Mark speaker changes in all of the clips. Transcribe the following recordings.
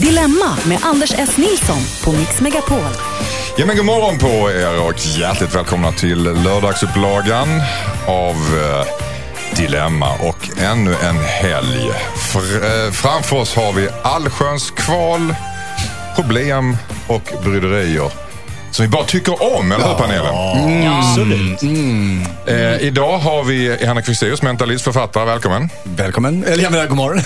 Speaker 1: Dilemma med Anders S. Nilsson på Mix Megapol.
Speaker 2: Ja, men god morgon på er och hjärtligt välkomna till lördagsupplagan av eh, Dilemma och ännu en helg. Fr- eh, framför oss har vi allsköns kval, problem och bryderier som vi bara tycker om, eller hur panelen?
Speaker 3: Mm. Absolut.
Speaker 2: Eh, idag har vi Hanna Kvisteus, mentalist, författare. Välkommen.
Speaker 3: Välkommen. Eller jag menar god morgon.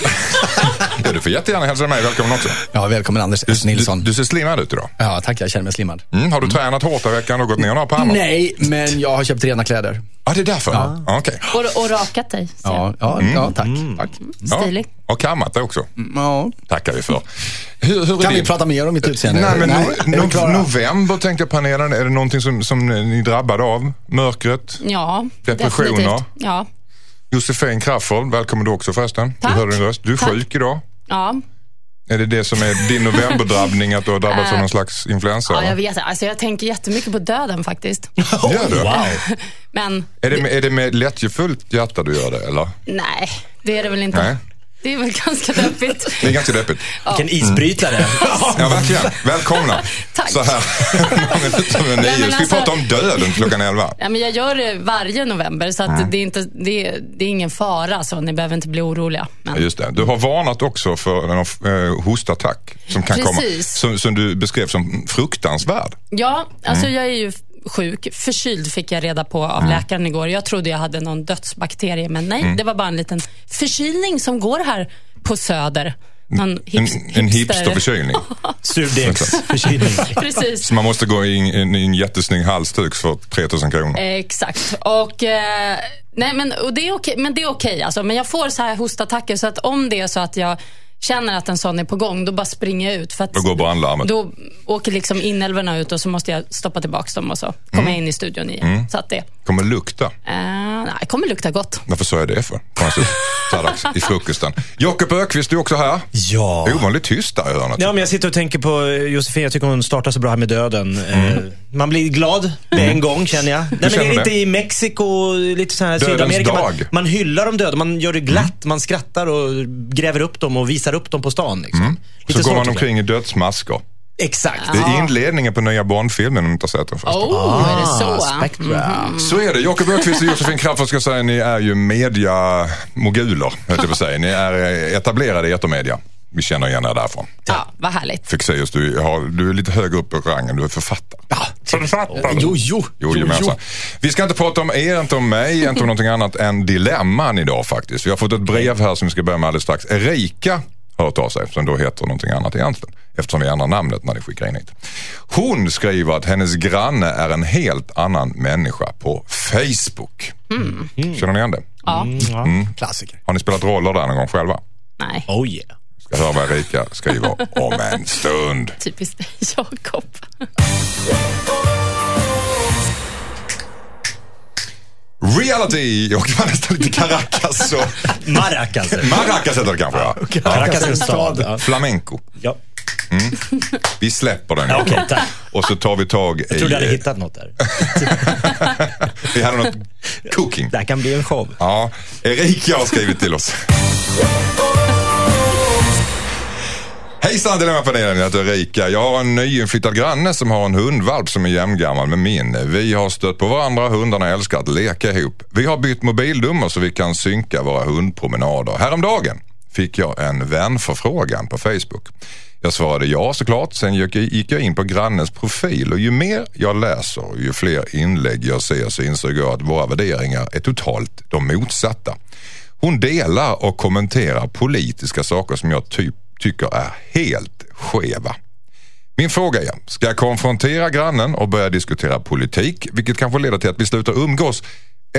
Speaker 2: Ja, du får jättegärna hälsa mig välkommen också.
Speaker 3: Ja, välkommen Anders S. Nilsson.
Speaker 2: Du, du ser slimmad ut idag.
Speaker 3: Ja, tack. Jag känner mig slimmad.
Speaker 2: Mm, har du tränat hårt i veckan och gått ner några pannor?
Speaker 3: Nej, men jag har köpt rena kläder.
Speaker 2: Ja, det är därför? Ja. Okej.
Speaker 4: Och, och rakat dig. ser jag.
Speaker 3: Ja, ja,
Speaker 2: Mm.
Speaker 3: ja tack. tack.
Speaker 2: Ja.
Speaker 4: Stilig. Mm.
Speaker 2: Och kammat det också.
Speaker 3: Ja.
Speaker 2: tackar vi för. Hur, hur är
Speaker 3: Kan
Speaker 2: din-
Speaker 3: vi prata mer om mitt utseende?
Speaker 2: Nej, men
Speaker 3: är vi
Speaker 2: no, no,
Speaker 3: klara?
Speaker 2: november tänkte jag panelen. Är det någonting som, som ni är drabbade av? Mörkret?
Speaker 4: Ja,
Speaker 2: Depressioner.
Speaker 4: definitivt. Ja,
Speaker 2: Josefin Crafold, välkommen du också förresten.
Speaker 4: Tack.
Speaker 2: Du hör din röst. Du är
Speaker 4: Tack.
Speaker 2: sjuk idag.
Speaker 4: ja.
Speaker 2: Är det det som är din novemberdrabbning, att du har drabbats av någon slags influensa?
Speaker 4: Eh, ja, jag
Speaker 2: eller?
Speaker 4: vet. Alltså, jag tänker jättemycket på döden faktiskt.
Speaker 2: Gör du?
Speaker 4: Men
Speaker 2: Är, det, med- är det med lättjefullt hjärta du gör det, eller?
Speaker 4: nej, det är det väl inte.
Speaker 2: Nej.
Speaker 4: Det är väl ganska deppigt.
Speaker 2: Det är ganska deppigt.
Speaker 5: Vilken isbrytare.
Speaker 2: Ja, verkligen. Välkomna.
Speaker 4: Tack.
Speaker 2: Så här, många minuter över
Speaker 4: Nej,
Speaker 2: nio.
Speaker 4: men
Speaker 2: Ska vi
Speaker 4: alltså-
Speaker 2: prata om döden klockan elva?
Speaker 4: Ja, men jag gör det varje november, så att det, är inte, det, är, det är ingen fara. Så ni behöver inte bli oroliga. Men,
Speaker 2: Ja, Just det. Du har varnat också för en eh, hostattack som kan komma.
Speaker 4: Precis.
Speaker 2: Som, som du beskrev som fruktansvärd.
Speaker 4: Ja, alltså jag är ju sjuk. Förkyld fick jag reda på av läkaren igår. Jag trodde jag hade någon dödsbakterie, men nej, det var bara en liten förkylning som går här på Söder. Någon
Speaker 2: En,
Speaker 4: hips,
Speaker 2: en hipsterförkylning.
Speaker 5: Surdegsförkylning.
Speaker 4: Precis.
Speaker 2: Så man måste gå in i en, en jättesnygg halsduk för 3000 kronor.
Speaker 4: Eh, Exakt. Och, eh, nej, men, och det är okej, men det är okej alltså. Men jag får så här hostattacker, så att om det är så att jag känner att en sån är på gång, då bara springer jag ut. För att
Speaker 2: Då går brandlarmet.
Speaker 4: Då åker liksom inälvorna ut och så måste jag stoppa tillbaka dem och så kommer
Speaker 2: Mm.
Speaker 4: jag in i studion igen. Så att det, eh,
Speaker 2: Kommer lukta.
Speaker 4: nej, det kommer lukta gott.
Speaker 2: Varför sa jag det för? Konstigt. Så här dags I frukosten. Jakob Ökvist, du är också här.
Speaker 5: Ja.
Speaker 2: Det är ovanligt tyst där i hörnet.
Speaker 5: Ja, men jag sitter och tänker på eh, Josefin. Jag tycker hon startar så bra här med döden. Eh, Man blir glad med en gång känner jag. Nej, men
Speaker 2: Mm. känner
Speaker 5: är det inte
Speaker 2: det?
Speaker 5: i Mexiko och lite så här
Speaker 2: Dödens
Speaker 5: Sydamerika? Man,
Speaker 2: dag. Mm.
Speaker 5: man hyllar de döda. Man gör det glatt. Man skrattar och gräver upp dem och visar upp dem på stan. Liksom.
Speaker 2: Mm. Så går
Speaker 5: sånt
Speaker 2: man
Speaker 5: tycker jag.
Speaker 2: omkring i dödsmasker.
Speaker 5: Exakt.
Speaker 2: Det är
Speaker 4: Ja.
Speaker 2: inledningen på nya Bond-filmen om du inte har sett den förresten.
Speaker 4: Oh, är det så?
Speaker 5: Spectra.
Speaker 2: Så är det. Jakob Ökvist och Josefin Crafoord ska säga ni är ju mediamoguler, höll jag på att säga. Ni är eh, etablerade i etermedia. Vi känner igen er därifrån.
Speaker 4: Ja, vad härligt.
Speaker 2: Fexeus, du, har- du är lite högre upp i rangen. Du är författare. Ja, författare.
Speaker 3: Jo, jo.
Speaker 2: Jo, jo. Vi ska inte prata om er, inte om mig, inte om någonting annat än dilemman idag faktiskt. Vi har fått ett brev här som vi ska börja med alldeles strax. Erika har hört av sig, som då heter någonting annat egentligen. Eftersom vi ändrar namnet när ni skickar in hit. Hon skriver att hennes granne är en helt annan människa på Facebook. Känner ni igen det?
Speaker 4: Ja.
Speaker 3: Klassiker.
Speaker 2: Har ni spelat roller där någon gång själva?
Speaker 4: Nej,
Speaker 5: Oh yeah.
Speaker 2: Ska höra vad Erika skriver om en stund.
Speaker 4: typiskt Jakob.
Speaker 2: Reality! Jag var nästan lite Caracas och...
Speaker 5: Maracas.
Speaker 2: Maracas heter det kanske ja.
Speaker 5: Caracas är en stad. Ja.
Speaker 2: Flamenco.
Speaker 5: Ja.
Speaker 2: Vi släpper den.
Speaker 5: Okej, tack.
Speaker 2: Och så tar vi tag i... eh,
Speaker 5: Jag trodde jag hade hittat något där.
Speaker 2: Vi hade något cooking.
Speaker 5: Det här kan bli en show.
Speaker 2: Ja, Erika har skrivit till oss. Hejsan Dilemmapanelen, jag heter Erika. Jag har en nyinflyttad granne som har en hundvalp som är jämngammal med min. Vi har stött på varandra, hundarna älskar att leka ihop. Vi har bytt mobilnummer så vi kan synka våra hundpromenader. Häromdagen fick jag en vänförfrågan på Facebook. Jag svarade ja såklart, sen gick jag- gick jag in på grannens profil och ju mer jag läser och ju fler inlägg jag ser så insåg jag att våra värderingar är totalt de motsatta. Hon delar och kommenterar politiska saker som jag typ tycker är helt skeva. Min fråga är, ska jag konfrontera grannen och börja diskutera politik, vilket kanske leder till att vi slutar umgås?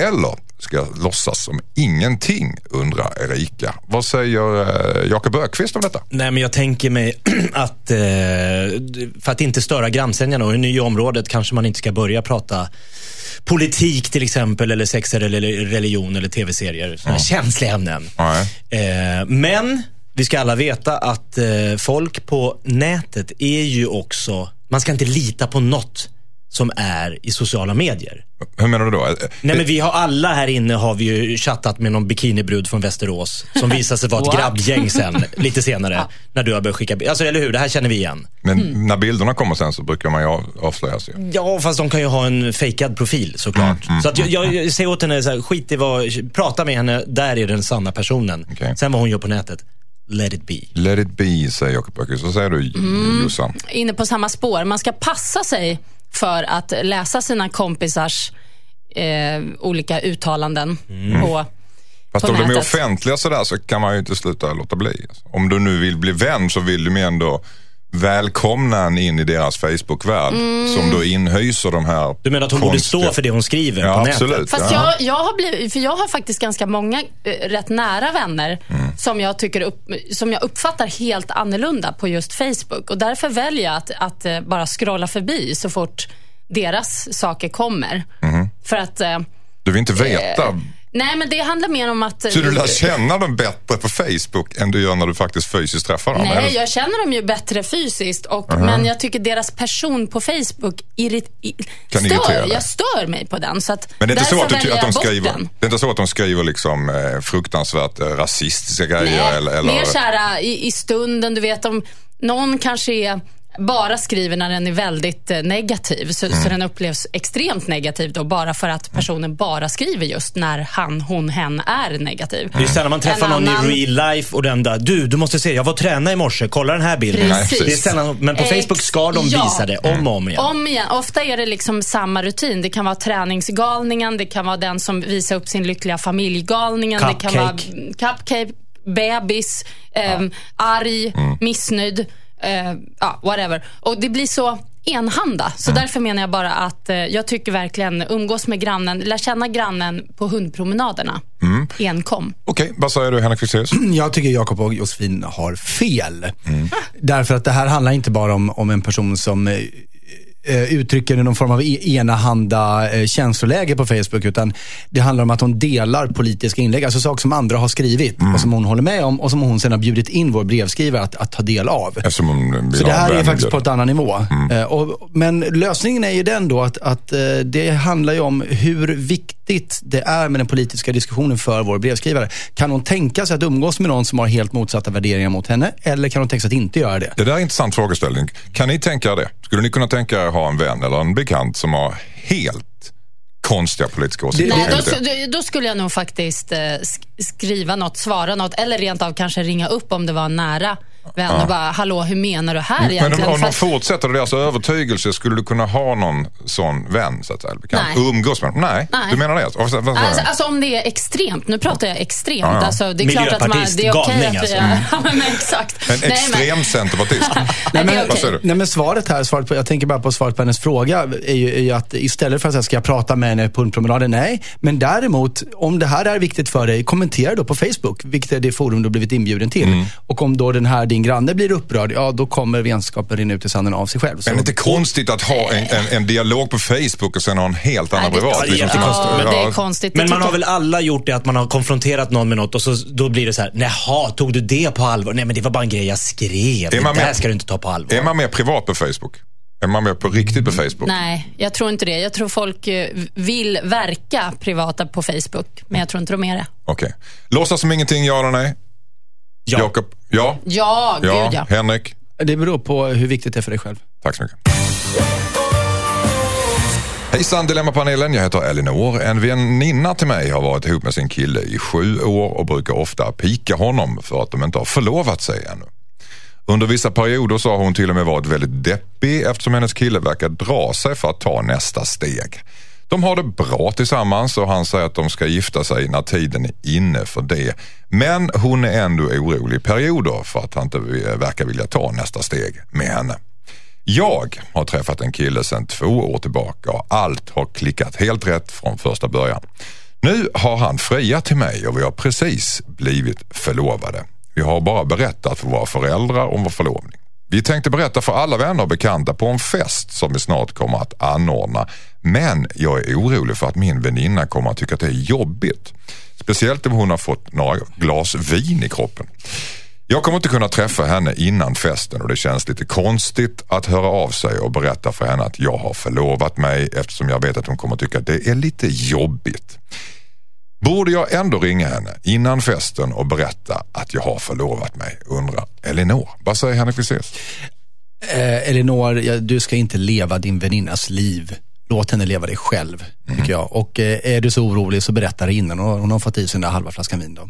Speaker 2: Eller ska jag låtsas som ingenting, undrar Erika. Vad säger eh, Jakob Ökvist om detta?
Speaker 5: Nej, men jag tänker mig att eh, för att inte störa grannsämjan och i nya området kanske man inte ska börja prata politik till exempel eller sexer eller religion eller tv-serier. Sådana här känsliga ämnen.
Speaker 2: Nej.
Speaker 5: Eh, men vi ska alla veta att eh, folk på nätet är ju också, man ska inte lita på något. som är i sociala medier.
Speaker 2: Hur menar du då? Eh,
Speaker 5: Nej men vi har alla här inne har vi ju chattat med någon bikinibrud från Västerås som visar sig vara ett
Speaker 4: What?
Speaker 5: grabbgäng sen, lite senare. När du har börjat skicka bi- Alltså eller hur, det här känner vi igen.
Speaker 2: Men när bilderna kommer sen så brukar man ju av- avslöjas ju.
Speaker 5: Ja, fast de kan ju ha en fejkad profil såklart. så att jag, jag, jag säger åt henne, så här, skit i vad, prata med henne, där är den sanna personen.
Speaker 2: Okej.
Speaker 5: Sen vad hon gör på nätet, let it be.
Speaker 2: Let it be, säger Jakob Öqvist. Så säger du Jossan.
Speaker 4: inne på samma spår. Man ska passa sig för att läsa sina kompisars eh, olika uttalanden.
Speaker 2: Mm.
Speaker 4: På,
Speaker 2: Fast
Speaker 4: på
Speaker 2: om de är
Speaker 4: nätet.
Speaker 2: offentliga sådär så kan man ju inte sluta låta bli. Om du nu vill bli vän så vill du ju ändå välkomna en in i deras Facebook-värld
Speaker 4: Mm.
Speaker 2: som då inhyser de här
Speaker 5: Du menar att hon borde stå för det hon skriver på
Speaker 2: Ja,
Speaker 5: nätet?
Speaker 2: absolut.
Speaker 4: Fast
Speaker 2: Ja.
Speaker 4: jag, jag, har blivit, för jag har faktiskt ganska många eh, rätt nära vänner
Speaker 2: Mm.
Speaker 4: som, jag tycker upp, som jag uppfattar helt annorlunda på just Facebook. Och därför väljer jag att, att eh, bara scrolla förbi så fort deras saker kommer.
Speaker 2: Mm-hmm.
Speaker 4: För att... Eh,
Speaker 2: Du vill inte veta.
Speaker 4: nej, men det handlar mer om att... eh,
Speaker 2: Så du lär känna dem bättre på Facebook än du gör när du faktiskt fysiskt träffar dem?
Speaker 4: Nej,
Speaker 2: eller?
Speaker 4: jag känner dem ju bättre fysiskt. Och, Men jag tycker deras person på Facebook irrit, i,
Speaker 2: Kan irritera
Speaker 4: stör,
Speaker 2: dig.
Speaker 4: jag stör mig på den. Så att
Speaker 2: Men det är, inte så
Speaker 4: därför
Speaker 2: att du, ty-
Speaker 4: väljer
Speaker 2: att de
Speaker 4: jag bort
Speaker 2: skriver,
Speaker 4: den.
Speaker 2: det är inte så att de skriver liksom, eh, fruktansvärt eh, rasistiska grejer?
Speaker 4: Nej,
Speaker 2: eller, eller,
Speaker 4: mer så här äh, i, i stunden. Du vet om någon kanske är bara skriver när den är väldigt eh, negativ. Så,
Speaker 2: Mm.
Speaker 4: så den upplevs extremt negativ då bara för att personen bara skriver just när han, hon, hen är negativ.
Speaker 5: Det är sällan man träffar
Speaker 4: En
Speaker 5: någon
Speaker 4: annan-
Speaker 5: i real life och den där, du, du måste se, jag var och tränade i morse, kolla den här bilden.
Speaker 2: Nej, precis.
Speaker 5: Det är sällan, men på
Speaker 4: Ex-
Speaker 5: Facebook ska de
Speaker 4: ja.
Speaker 5: visa det om och om igen.
Speaker 4: Om igen. Ofta är det liksom samma rutin. Det kan vara träningsgalningen, det kan vara den som visar upp sin lyckliga familjgalningen. Det kan vara
Speaker 5: Cupcake.
Speaker 4: mm, cupcake, bebis, ehm, arg,
Speaker 5: Mm.
Speaker 4: missnöjd, eh, ja, whatever. Och det blir så enhanda. Så
Speaker 5: Mm.
Speaker 4: därför menar jag bara att eh, jag tycker verkligen umgås med grannen, lär känna grannen på hundpromenaderna.
Speaker 5: Mm.
Speaker 4: Enkom.
Speaker 2: Okej, vad säger du Henrik Fexeus?
Speaker 3: Jag tycker Jakob och Josefin har fel. Därför att det här handlar inte bara om, om en person som eh, eh, uttrycker någon form av e- enahanda eh, känsloläge på Facebook. Utan det handlar om att hon delar politiska inlägg, alltså saker som andra har skrivit och som hon håller med om och som hon sedan har bjudit in vår brevskrivare att, att ta del av.
Speaker 2: Eftersom hon vill
Speaker 3: Så det
Speaker 2: ha Mm. en
Speaker 3: här är
Speaker 2: vän,
Speaker 3: faktiskt
Speaker 2: eller?
Speaker 3: på ett annan nivå. Eh, och, men lösningen är ju den då att, att eh, det handlar ju om hur viktigt det är med den politiska diskussionen för vår brevskrivare. Kan hon tänka sig att umgås med någon som har helt motsatta värderingar mot henne? Eller kan hon tänka sig att inte göra det?
Speaker 2: Det där är en intressant frågeställning. Kan ni tänka er det? Skulle ni kunna tänka er att ha en vän eller en bekant som har helt konstiga politiska åsikter?
Speaker 4: Nej,
Speaker 2: Kan ni
Speaker 4: då,
Speaker 2: inte?
Speaker 4: sk- då skulle jag nog faktiskt eh, sk- skriva något, svara något eller rent av kanske ringa upp om det var en nära vän och bara, hallå hur menar du här
Speaker 2: Men om,
Speaker 4: egentligen?
Speaker 2: om
Speaker 4: För
Speaker 2: de
Speaker 4: att-
Speaker 2: fortsätter i deras övertygelse, skulle du kunna ha någon sån vän så att säga? eller Bekant?
Speaker 4: Nej.
Speaker 2: Umgås med dem? Nej,
Speaker 4: Nej.
Speaker 2: du menar det? Alltså, vad- vad-
Speaker 4: Alltså, alltså om det är extremt, nu pratar jag extremt.
Speaker 2: Ja, ja.
Speaker 4: Alltså, det är klart att man,
Speaker 5: Miljöpartist,
Speaker 4: det är okej
Speaker 5: galning, alltså.
Speaker 4: att vi är... Ja, men, exakt.
Speaker 2: en
Speaker 4: Nej, men-
Speaker 2: extrem centerpartist?
Speaker 4: Nej, men, det är
Speaker 2: Vad
Speaker 4: okej.
Speaker 2: säger du?
Speaker 3: Nej men svaret här, svaret på, jag tänker bara på svaret på hennes fråga, är ju, är ju att istället för att säga, ska jag prata med henne på hundpromenaden? Nej, men däremot, om det här är viktigt för dig, kommentera då på Facebook, vilket är det forum du har blivit inbjuden till. Och om då den här, din granne blir upprörd, ja då kommer vänskapen rinna ut i sanden av sig själv. Så.
Speaker 2: Men det är inte konstigt att ha en, en, en dialog på Facebook och sen ha en helt annan
Speaker 4: Nej, det-
Speaker 2: privat?
Speaker 5: Ja, det är
Speaker 2: till
Speaker 5: jättekonstigt.
Speaker 2: konst-
Speaker 4: Ja, det är
Speaker 2: ja.
Speaker 4: konstigt.
Speaker 5: Men
Speaker 4: det
Speaker 5: man har
Speaker 4: tycker
Speaker 5: väl alla gjort det att man har konfronterat någon med något och så, då blir det så här, jaha, tog du det på allvar? Nej men det var bara en grej jag skrev. Det
Speaker 2: man
Speaker 5: där
Speaker 2: med-
Speaker 5: ska du inte ta på allvar.
Speaker 2: Är man mer privat på Facebook? Är man mer på riktigt på Facebook?
Speaker 4: jag. Nej, jag tror inte det. Jag tror folk eh, vill verka privata på Facebook, men jag tror inte de är det.
Speaker 2: Okej. Låtsas som ingenting, ja eller nej?
Speaker 5: Ja.
Speaker 2: Jakob? Ja?
Speaker 4: Ja, gud ja.
Speaker 2: Henrik?
Speaker 3: Det beror på hur viktigt det är för dig själv.
Speaker 2: Tack så mycket. Hejsan Dilemmapanelen, jag heter Elinor. En väninna till mig har varit ihop med sin kille i sju år och brukar ofta pika honom för att de inte har förlovat sig ännu. Under vissa perioder så har hon till och med varit väldigt deppig eftersom hennes kille verkar dra sig för att ta nästa steg. De har det bra tillsammans och han säger att de ska gifta sig när tiden är inne för det. Men hon är ändå orolig i perioder för att han inte eh, verkar vilja ta nästa steg med henne. Jag har träffat en kille sedan två år tillbaka och allt har klickat helt rätt från första början. Nu har han friat till mig och vi har precis blivit förlovade. Vi har bara berättat för våra föräldrar om vår förlovning. Vi tänkte berätta för alla vänner och bekanta på en fest som vi snart kommer att anordna. Men jag är orolig för att min väninna kommer att tycka att det är jobbigt. Speciellt om hon har fått några glas vin i kroppen. Jag kommer inte kunna träffa henne innan festen och det känns lite konstigt att höra av sig och berätta för henne att jag har förlovat mig eftersom jag vet att hon kommer tycka att det är lite jobbigt. Borde jag ändå ringa henne innan festen och berätta att jag har förlovat mig? Undrar Elinor. Vad säger Henrik Fexeus?
Speaker 3: Eh, Elinor, ja, du ska inte leva din väninnas liv. Låt henne leva det själv, tycker jag. Och eh, är du så orolig så berätta det innan. Och Hon har fått i sig den där halva flaskan vin då.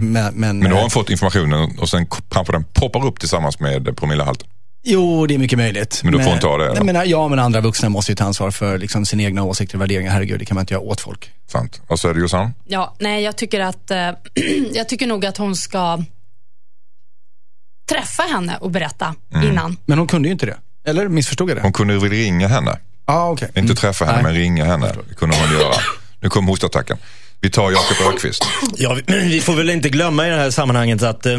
Speaker 3: Men, men,
Speaker 2: Men då har
Speaker 3: eh,
Speaker 2: hon fått informationen och sen kanske den poppar upp tillsammans med promillehalten.
Speaker 3: Jo, det är mycket möjligt.
Speaker 2: Men då får hon ta det, eller?
Speaker 3: Nej, men, ja, men andra vuxna måste ju ta ansvar för liksom, sina egna åsikter och värderingar. Herregud, det kan man inte göra åt folk.
Speaker 2: Sant. Vad säger du Jossan?
Speaker 4: Ja, nej, jag tycker att eh, jag tycker nog att hon ska träffa henne och berätta
Speaker 3: Mm.
Speaker 4: innan.
Speaker 3: Men hon kunde ju inte det. Eller missförstod jag det?
Speaker 2: Hon kunde väl ringa henne?
Speaker 3: Ja, ah, okej.
Speaker 2: Inte träffa henne, men ringa henne. Det kunde hon göra. Nu kom hostattacken. Vi tar Jakob Öqvist.
Speaker 5: Ja, vi, vi får väl inte glömma i det här sammanhanget att eh,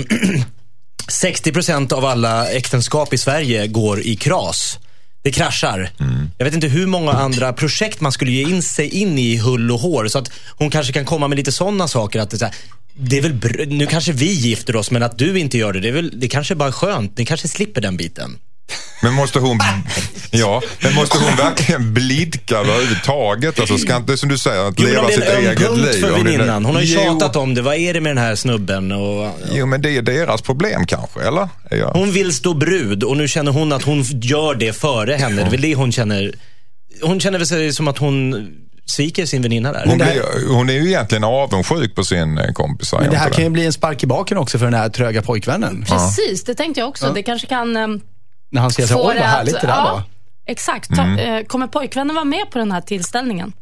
Speaker 5: 60% av alla äktenskap i Sverige går i kras. Det kraschar.
Speaker 2: Mm.
Speaker 5: Jag vet inte hur många andra projekt man skulle ge in sig in i hull och hår. Så att hon kanske kan komma med lite sådana saker. Att det, är så här, det är väl br- nu kanske vi gifter oss, men att du inte gör det, det, är väl, det kanske bara är skönt. Ni kanske slipper den biten.
Speaker 2: Men måste hon, ja, men måste hon verkligen blidka överhuvudtaget? Alltså ska inte, som du säger, att
Speaker 5: Jo, men om
Speaker 2: leva
Speaker 5: det
Speaker 2: sitt
Speaker 5: är en öm
Speaker 2: eget
Speaker 5: punkt
Speaker 2: liv.
Speaker 5: för
Speaker 2: om det är-
Speaker 5: väninnan. Hon har ju
Speaker 2: Jo,
Speaker 5: tjatat om det. Vad är det med den här snubben? Och,
Speaker 2: Jo, men det är deras problem kanske, eller? Är jag-
Speaker 5: Hon vill stå brud och nu känner hon att hon gör det före henne. Det är väl det hon känner. Hon känner väl sig som att hon sviker sin väninna där.
Speaker 2: Hon, blir, hon är ju egentligen avundsjuk på sin eh, kompis. säger
Speaker 3: Men det
Speaker 2: hon
Speaker 3: här
Speaker 2: inte
Speaker 3: kan ju bli en spark i baken också för den här tröga pojkvännen.
Speaker 4: Precis, det tänkte jag också. Det kanske kan eh,
Speaker 3: När han ser så här, oj vad härligt det där var. Mm.
Speaker 4: Exakt. Ta, eh, kommer pojkvännen vara med på den här tillställningen?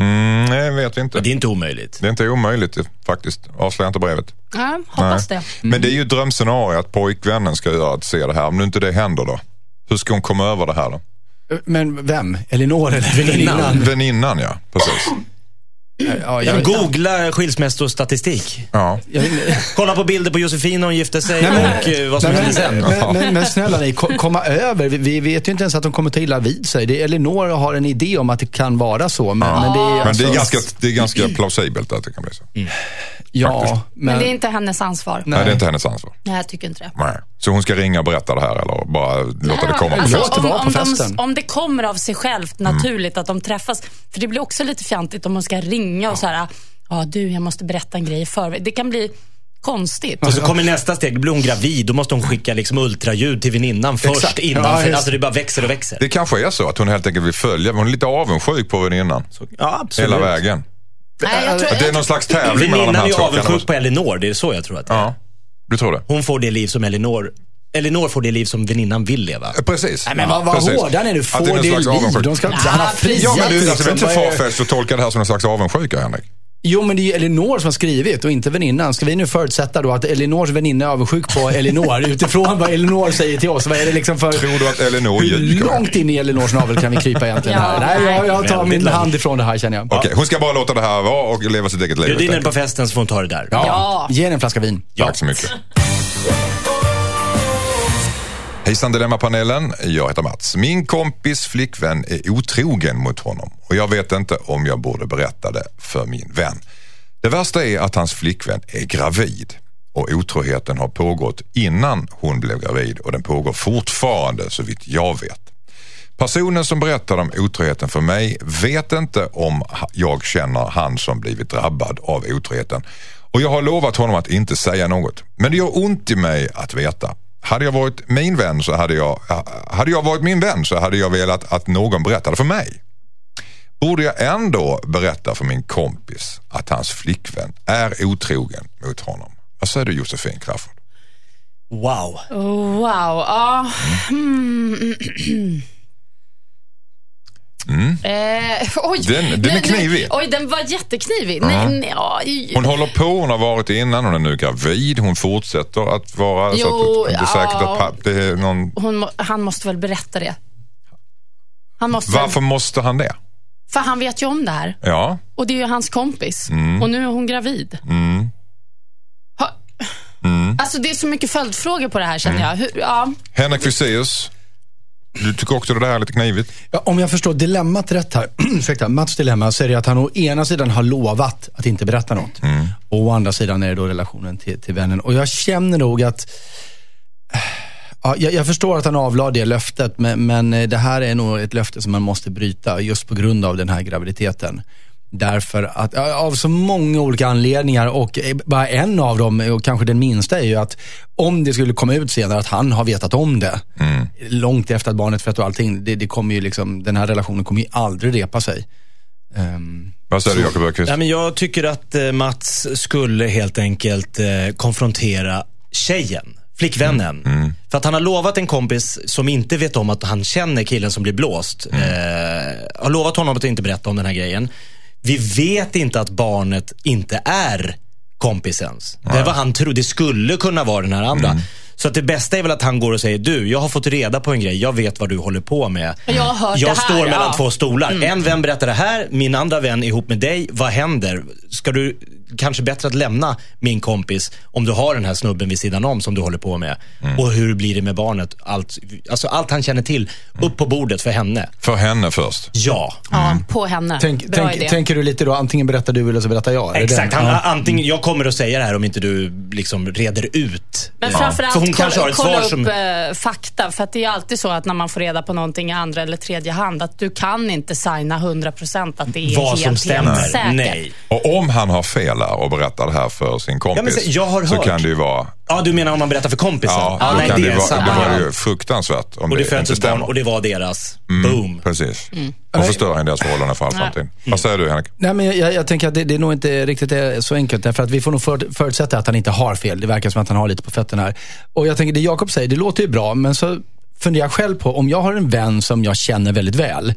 Speaker 2: Mm, nej, vet vi inte.
Speaker 5: Det är inte omöjligt.
Speaker 2: Det är inte omöjligt faktiskt. Avslöja inte brevet.
Speaker 4: Ja, hoppas
Speaker 2: Nej.
Speaker 4: det.
Speaker 2: Men
Speaker 5: Mm.
Speaker 2: det är ju ett drömscenario att pojkvännen ska göra att se det här. Om nu inte det händer då? Hur ska hon komma över det här då?
Speaker 3: Men vem? Elinor eller
Speaker 5: Väninnan.
Speaker 2: Väninnan ja, precis.
Speaker 3: Ja,
Speaker 5: Men
Speaker 3: jag,
Speaker 5: Googla skilsmässostatistik.
Speaker 2: Ja.
Speaker 3: jag,
Speaker 5: Kolla på bilder på Josefin när hon gifte sig
Speaker 3: Nej, men-
Speaker 5: och eh, vad som
Speaker 3: Nej,
Speaker 5: hände sen.
Speaker 3: men, men, men, men snälla ni, ko- komma över. Vi, vi vet ju inte ens att de kommer ta illa vid sig. Det, Elinor har en idé om att det kan vara så. Men, men det är,
Speaker 2: Men det är,
Speaker 3: alltså-
Speaker 2: ganska, det är ganska plausibelt att det kan bli så.
Speaker 3: Ja, men,
Speaker 4: Men det är inte hennes ansvar. Nej,
Speaker 2: Nej, det är inte hennes ansvar.
Speaker 4: jag tycker inte det.
Speaker 2: Nej. Så hon ska ringa och berätta det här eller bara låta det komma på
Speaker 4: Alltså,
Speaker 2: festen?
Speaker 3: Låt det
Speaker 4: om,
Speaker 3: vara på
Speaker 4: om, de,
Speaker 3: festen.
Speaker 4: om det kommer av sig självt
Speaker 3: Mm.
Speaker 4: naturligt att de träffas. För det blir också lite fjantigt om man ska ringa och så här, ja du, jag måste berätta en grej i förväg. Det kan bli konstigt.
Speaker 5: Och så kommer nästa steg, då blir hon gravid. Då måste hon skicka liksom ultraljud till väninnan först.
Speaker 3: Exakt.
Speaker 5: Innan,
Speaker 3: Ja, just-
Speaker 5: alltså det bara växer och växer.
Speaker 2: Det kanske är så att hon helt enkelt vill följa, men hon är lite avundsjuk på väninnan.
Speaker 5: Ja, absolut.
Speaker 2: Hela vägen.
Speaker 4: Nej, jag tror,
Speaker 2: Att det är någon slags tävling mellan
Speaker 5: Väninnan
Speaker 2: de
Speaker 5: är
Speaker 2: här
Speaker 5: ju
Speaker 2: två. kan det vara
Speaker 5: avundsjuk
Speaker 2: så?
Speaker 5: på Elinor. Det är så jag tror att det är.
Speaker 2: Ja, du tror det?
Speaker 5: Hon får det liv som Elinor... Elinor får det liv som väninnan vill leva.
Speaker 2: Eh, Precis.
Speaker 3: Nej, men vad, vad
Speaker 2: Precis.
Speaker 3: hårda ni är nu. Få
Speaker 2: Att
Speaker 3: det
Speaker 2: någon slags
Speaker 3: liv.
Speaker 2: avundsjuk.
Speaker 3: De ska, han har friat
Speaker 2: Ja, men du, alltså, det är inte
Speaker 3: liksom. Vad är-
Speaker 2: farfetched att tolka det här som någon slags avundsjuka, Henrik.
Speaker 3: Jo, men det är ju Elinor som har skrivit och inte väninnan. Ska vi nu förutsätta då att Elinors väninna är avundsjuk på Elinor utifrån vad Elinor säger till oss? Vad är det liksom för...
Speaker 2: Tror du att Elinor
Speaker 3: Hur
Speaker 2: ljuger?
Speaker 3: långt in i Elinors navel kan vi krypa egentligen
Speaker 4: Ja,
Speaker 3: här? Nej, jag, jag tar
Speaker 5: väldigt
Speaker 3: min
Speaker 5: långt.
Speaker 3: hand ifrån det här känner jag.
Speaker 2: Okej, hon ska bara låta det här vara och leva sitt eget liv.
Speaker 5: Bjud in
Speaker 2: helt
Speaker 5: henne
Speaker 2: enkelt.
Speaker 5: på festen så får hon ta det där.
Speaker 4: Ja.
Speaker 3: Ge henne en flaska vin.
Speaker 2: Tack så mycket. Hejsan Dilemmapanelen, jag heter Mats. Min kompis flickvän är otrogen mot honom och jag vet inte om jag borde berätta det för min vän. Det värsta är att hans flickvän är gravid och otroheten har pågått innan hon blev gravid och den pågår fortfarande så vitt jag vet. Personen som berättade om otroheten för mig vet inte om ha- jag känner han som blivit drabbad av otroheten. Och jag har lovat honom att inte säga något. Men det gör ont i mig att veta. Hade jag varit min vän så hade jag, ha- hade jag varit min vän så hade jag velat att någon berättade för mig. Borde jag ändå berätta för min kompis att hans flickvän är otrogen mot honom? Vad säger du Josefin Crafoord?
Speaker 5: Wow.
Speaker 4: Wow. Ja. Mm. Eh, oj.
Speaker 2: Den- den är
Speaker 4: Nej, nej.
Speaker 2: knivig.
Speaker 4: Oj, den var jätteknivig. Nej, nej, oj.
Speaker 2: Hon håller på, hon har varit det innan, hon är nu gravid, hon fortsätter att vara så
Speaker 4: Jo,
Speaker 2: att det är inte säkert
Speaker 4: ja.
Speaker 2: att papp, det är någon...
Speaker 4: hon, må- han måste väl berätta det? Han måste
Speaker 2: Varför måste han det?
Speaker 4: För han vet ju om det här.
Speaker 2: Ja,
Speaker 4: Och det är ju hans kompis.
Speaker 2: Mm.
Speaker 4: Och nu är hon gravid. Ha,
Speaker 2: Mm.
Speaker 3: Mm.
Speaker 4: Alltså det är så mycket följdfrågor på det här känner jag. Hur, ja.
Speaker 2: Henrik Fexeus, Du tycker också det här är lite knivigt?
Speaker 3: Ja, om jag förstår dilemmat rätt här, ursäkta, Mats dilemma, så är det att han å ena sidan har lovat att inte berätta något.
Speaker 2: Mm.
Speaker 3: Och å andra sidan är det då relationen till, till vännen. Och jag känner nog att, ja, jag, jag förstår att han avlade det löftet, men, men eh, det här är nog ett löfte som man måste bryta just på grund av den här graviditeten. Därför att, ja, av så många olika anledningar och eh, bara en av dem, eh, och kanske den minsta, är ju att om det skulle komma ut senare att han har vetat om det, långt efter att barnet fött och allting, det, det kommer ju liksom, den här relationen kommer ju aldrig repa sig. Ehm,
Speaker 2: Vad säger du Jakob Öqvist?
Speaker 5: Nej, men jag tycker att eh, Mats skulle helt enkelt eh, konfrontera tjejen, flickvännen. För att han har lovat en kompis som inte vet om att han känner killen som blir blåst. Eh, har lovat honom att inte berätta om den här grejen. Vi vet inte att barnet inte är kompisens. Det är vad han trodde. Det skulle kunna vara den här andra. Så att det bästa är väl att han går och säger, du, jag har fått reda på en grej. Jag vet vad du håller på med.
Speaker 4: Jag har hört
Speaker 5: jag
Speaker 4: det här,
Speaker 5: står mellan
Speaker 4: ja. Mm.
Speaker 5: två stolar. En vän berättar det här, min andra vän är ihop med dig. Vad händer? Ska du kanske bättre att lämna min kompis om du har den här snubben vid sidan om som du håller på med?
Speaker 2: Mm.
Speaker 5: Och hur blir det med barnet? Allt, alltså allt han känner till,
Speaker 2: Mm.
Speaker 5: upp på bordet för henne.
Speaker 2: För henne först.
Speaker 5: Ja.
Speaker 4: Ja, på henne.
Speaker 3: tänk,
Speaker 4: Bra
Speaker 3: tänk,
Speaker 4: idé.
Speaker 3: tänker du lite då, antingen berättar du eller så berättar jag? Är det
Speaker 5: Exakt.
Speaker 3: den?
Speaker 5: Han,
Speaker 3: Ja.
Speaker 5: antingen, jag kommer att säga det här om inte du liksom reder ut.
Speaker 4: Men
Speaker 5: eh,
Speaker 4: framförallt
Speaker 5: för hon
Speaker 4: kolla,
Speaker 5: kanske har ett
Speaker 4: kolla
Speaker 5: svar
Speaker 4: upp
Speaker 5: som...
Speaker 4: eh, fakta. För att det är alltid så att när man får reda på någonting i andra eller tredje hand, att du kan inte signa 100% att det är
Speaker 5: Vad
Speaker 4: helt,
Speaker 5: som stämmer.
Speaker 4: helt säkert.
Speaker 5: Nej.
Speaker 2: Och om han har fel här och berättar det här för sin
Speaker 5: Ja, men
Speaker 2: kompis
Speaker 5: se, jag har
Speaker 2: så
Speaker 5: hört.
Speaker 2: kan det ju vara...
Speaker 5: Ja, du menar om man berättar för kompisen?
Speaker 2: Ja,
Speaker 5: Ah,
Speaker 2: då
Speaker 5: nej,
Speaker 2: kan
Speaker 5: det
Speaker 2: det,
Speaker 5: är
Speaker 2: ju vara,
Speaker 5: sant.
Speaker 2: det var ju fruktansvärt om
Speaker 5: Och det
Speaker 2: det, Mm.
Speaker 5: föds
Speaker 2: inte
Speaker 5: ett barn
Speaker 2: stämmer.
Speaker 5: och det Mm. var deras. Boom.
Speaker 2: Precis. Då förstör han deras förhållande för all framtid.
Speaker 5: Mm.
Speaker 2: Vad säger du Henrik?
Speaker 3: Nej, men jag- jag, jag tänker att det, det är nog inte riktigt är så enkelt. Därför att vi får nog för, förutsätta att han inte har fel. Det verkar som att han har lite på fötterna här. Och jag tänker, det Jakob säger, det låter ju bra, men så funderar jag själv på, om jag har en vän som jag känner väldigt väl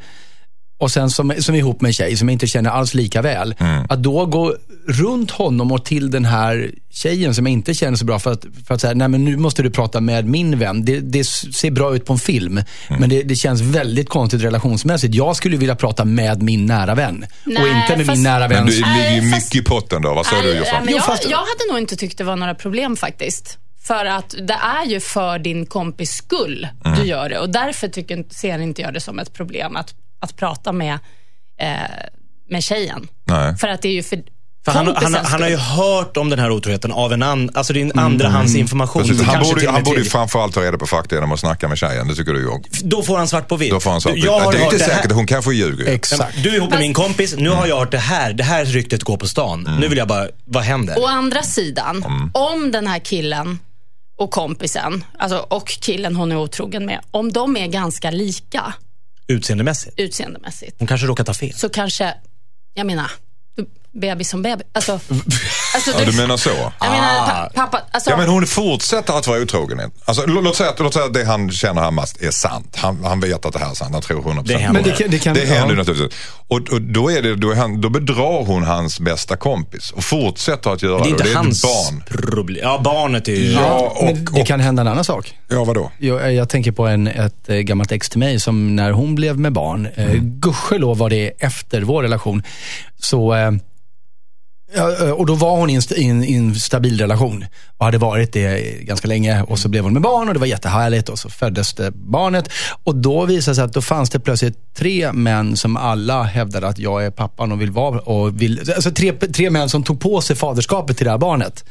Speaker 3: och sen som, som är ihop med en tjej som jag inte känner alls lika väl. Att då gå runt honom och till den här tjejen som jag inte känner så bra för att, för att säga, nej men nu måste du prata med min vän. Det, det ser bra ut på en film, men det, det känns väldigt konstigt relationsmässigt. Jag skulle vilja prata med min nära vän och
Speaker 4: Nej,
Speaker 3: inte med min
Speaker 4: fast-
Speaker 3: nära
Speaker 2: Men
Speaker 3: vän.
Speaker 2: du det ligger ju
Speaker 4: Nej, fast-
Speaker 2: mycket i potten då. Vad säger du
Speaker 4: Nej, nej,
Speaker 2: Jossan?
Speaker 4: men
Speaker 3: Jo,
Speaker 4: jag,
Speaker 3: fast-
Speaker 4: jag hade nog inte tyckt det var några problem faktiskt. För att det är ju för din kompis skull
Speaker 5: Mm.
Speaker 4: du gör det. Och därför tycker, inte- ser inte jag det som ett problem att, att prata med, eh, med tjejen.
Speaker 2: Nej.
Speaker 4: För att det är ju för,
Speaker 5: För han, han,
Speaker 4: kompisens
Speaker 5: han har ju
Speaker 4: skull.
Speaker 5: hört om den här otroheten av en annan, alltså det är en andrahandsinformation.
Speaker 2: Mm. Precis. Han
Speaker 5: Kanske
Speaker 2: borde,
Speaker 5: till
Speaker 2: ju-
Speaker 5: och
Speaker 2: han
Speaker 5: med
Speaker 2: borde ju
Speaker 5: till.
Speaker 2: framförallt ta reda på fakta genom att snacka med tjejen. Det tycker du ju.
Speaker 5: Då får han svart på vitt.
Speaker 2: Då får han svart.
Speaker 5: Du-
Speaker 2: Det
Speaker 5: jag har
Speaker 2: är ju
Speaker 5: hört
Speaker 2: inte
Speaker 5: det här-
Speaker 2: säkert. Hon kanske ljuger. ju.
Speaker 3: Exakt.
Speaker 5: Du är ihop med min kompis, nu har jag hört det här. Det här ryktet går på stan.
Speaker 2: Mm.
Speaker 5: Nu vill jag bara, vad händer?
Speaker 4: Å andra sidan, om den här killen och kompisen, alltså, och killen hon är otrogen med, om de är ganska lika
Speaker 5: Utseendemässigt.
Speaker 4: utseendemässigt,
Speaker 5: Hon kanske råkar ta fel.
Speaker 4: så kanske, jag menar, du- bebis som bebis. Alltså, alltså,
Speaker 2: Ja, du menar så?
Speaker 4: Jag menar, pa- pappa, alltså,
Speaker 2: Ja, men hon fortsätter att vara otrogen. Alltså, lå- låt, säga att, låt säga att det han känner här mest är sant. Han, han vet att det här är sant. Han tror 100
Speaker 5: Det
Speaker 2: på
Speaker 5: händer.
Speaker 3: Men det kan- det kan-
Speaker 2: det händer ju
Speaker 3: ja.
Speaker 2: naturligtvis. Och, och då, är det, då, är han, då bedrar hon hans bästa kompis och fortsätter att göra det.
Speaker 5: Det är
Speaker 2: och
Speaker 5: inte
Speaker 2: det är
Speaker 5: hans
Speaker 2: ett barn.
Speaker 5: problem. Ja, barnet är ju...
Speaker 2: Ja,
Speaker 3: Men
Speaker 2: och,
Speaker 3: det
Speaker 2: och,
Speaker 3: kan hända en annan sak.
Speaker 2: ja vadå?
Speaker 3: Jag, jag tänker på en, ett eh, gammalt ex till mig som när hon blev med barn, eh, gudskelov var det efter vår relation, så eh, ja, eh, och då var hon i en, st- i en, i en stabil relation och hade varit det ganska länge och så blev hon med barn och det var jättehärligt och så föddes det barnet och då visade det sig att då fanns det plötsligt tre män som alla hävdade att jag är pappan och vill vara och vill, alltså tre, tre män som tog på sig faderskapet till det här barnet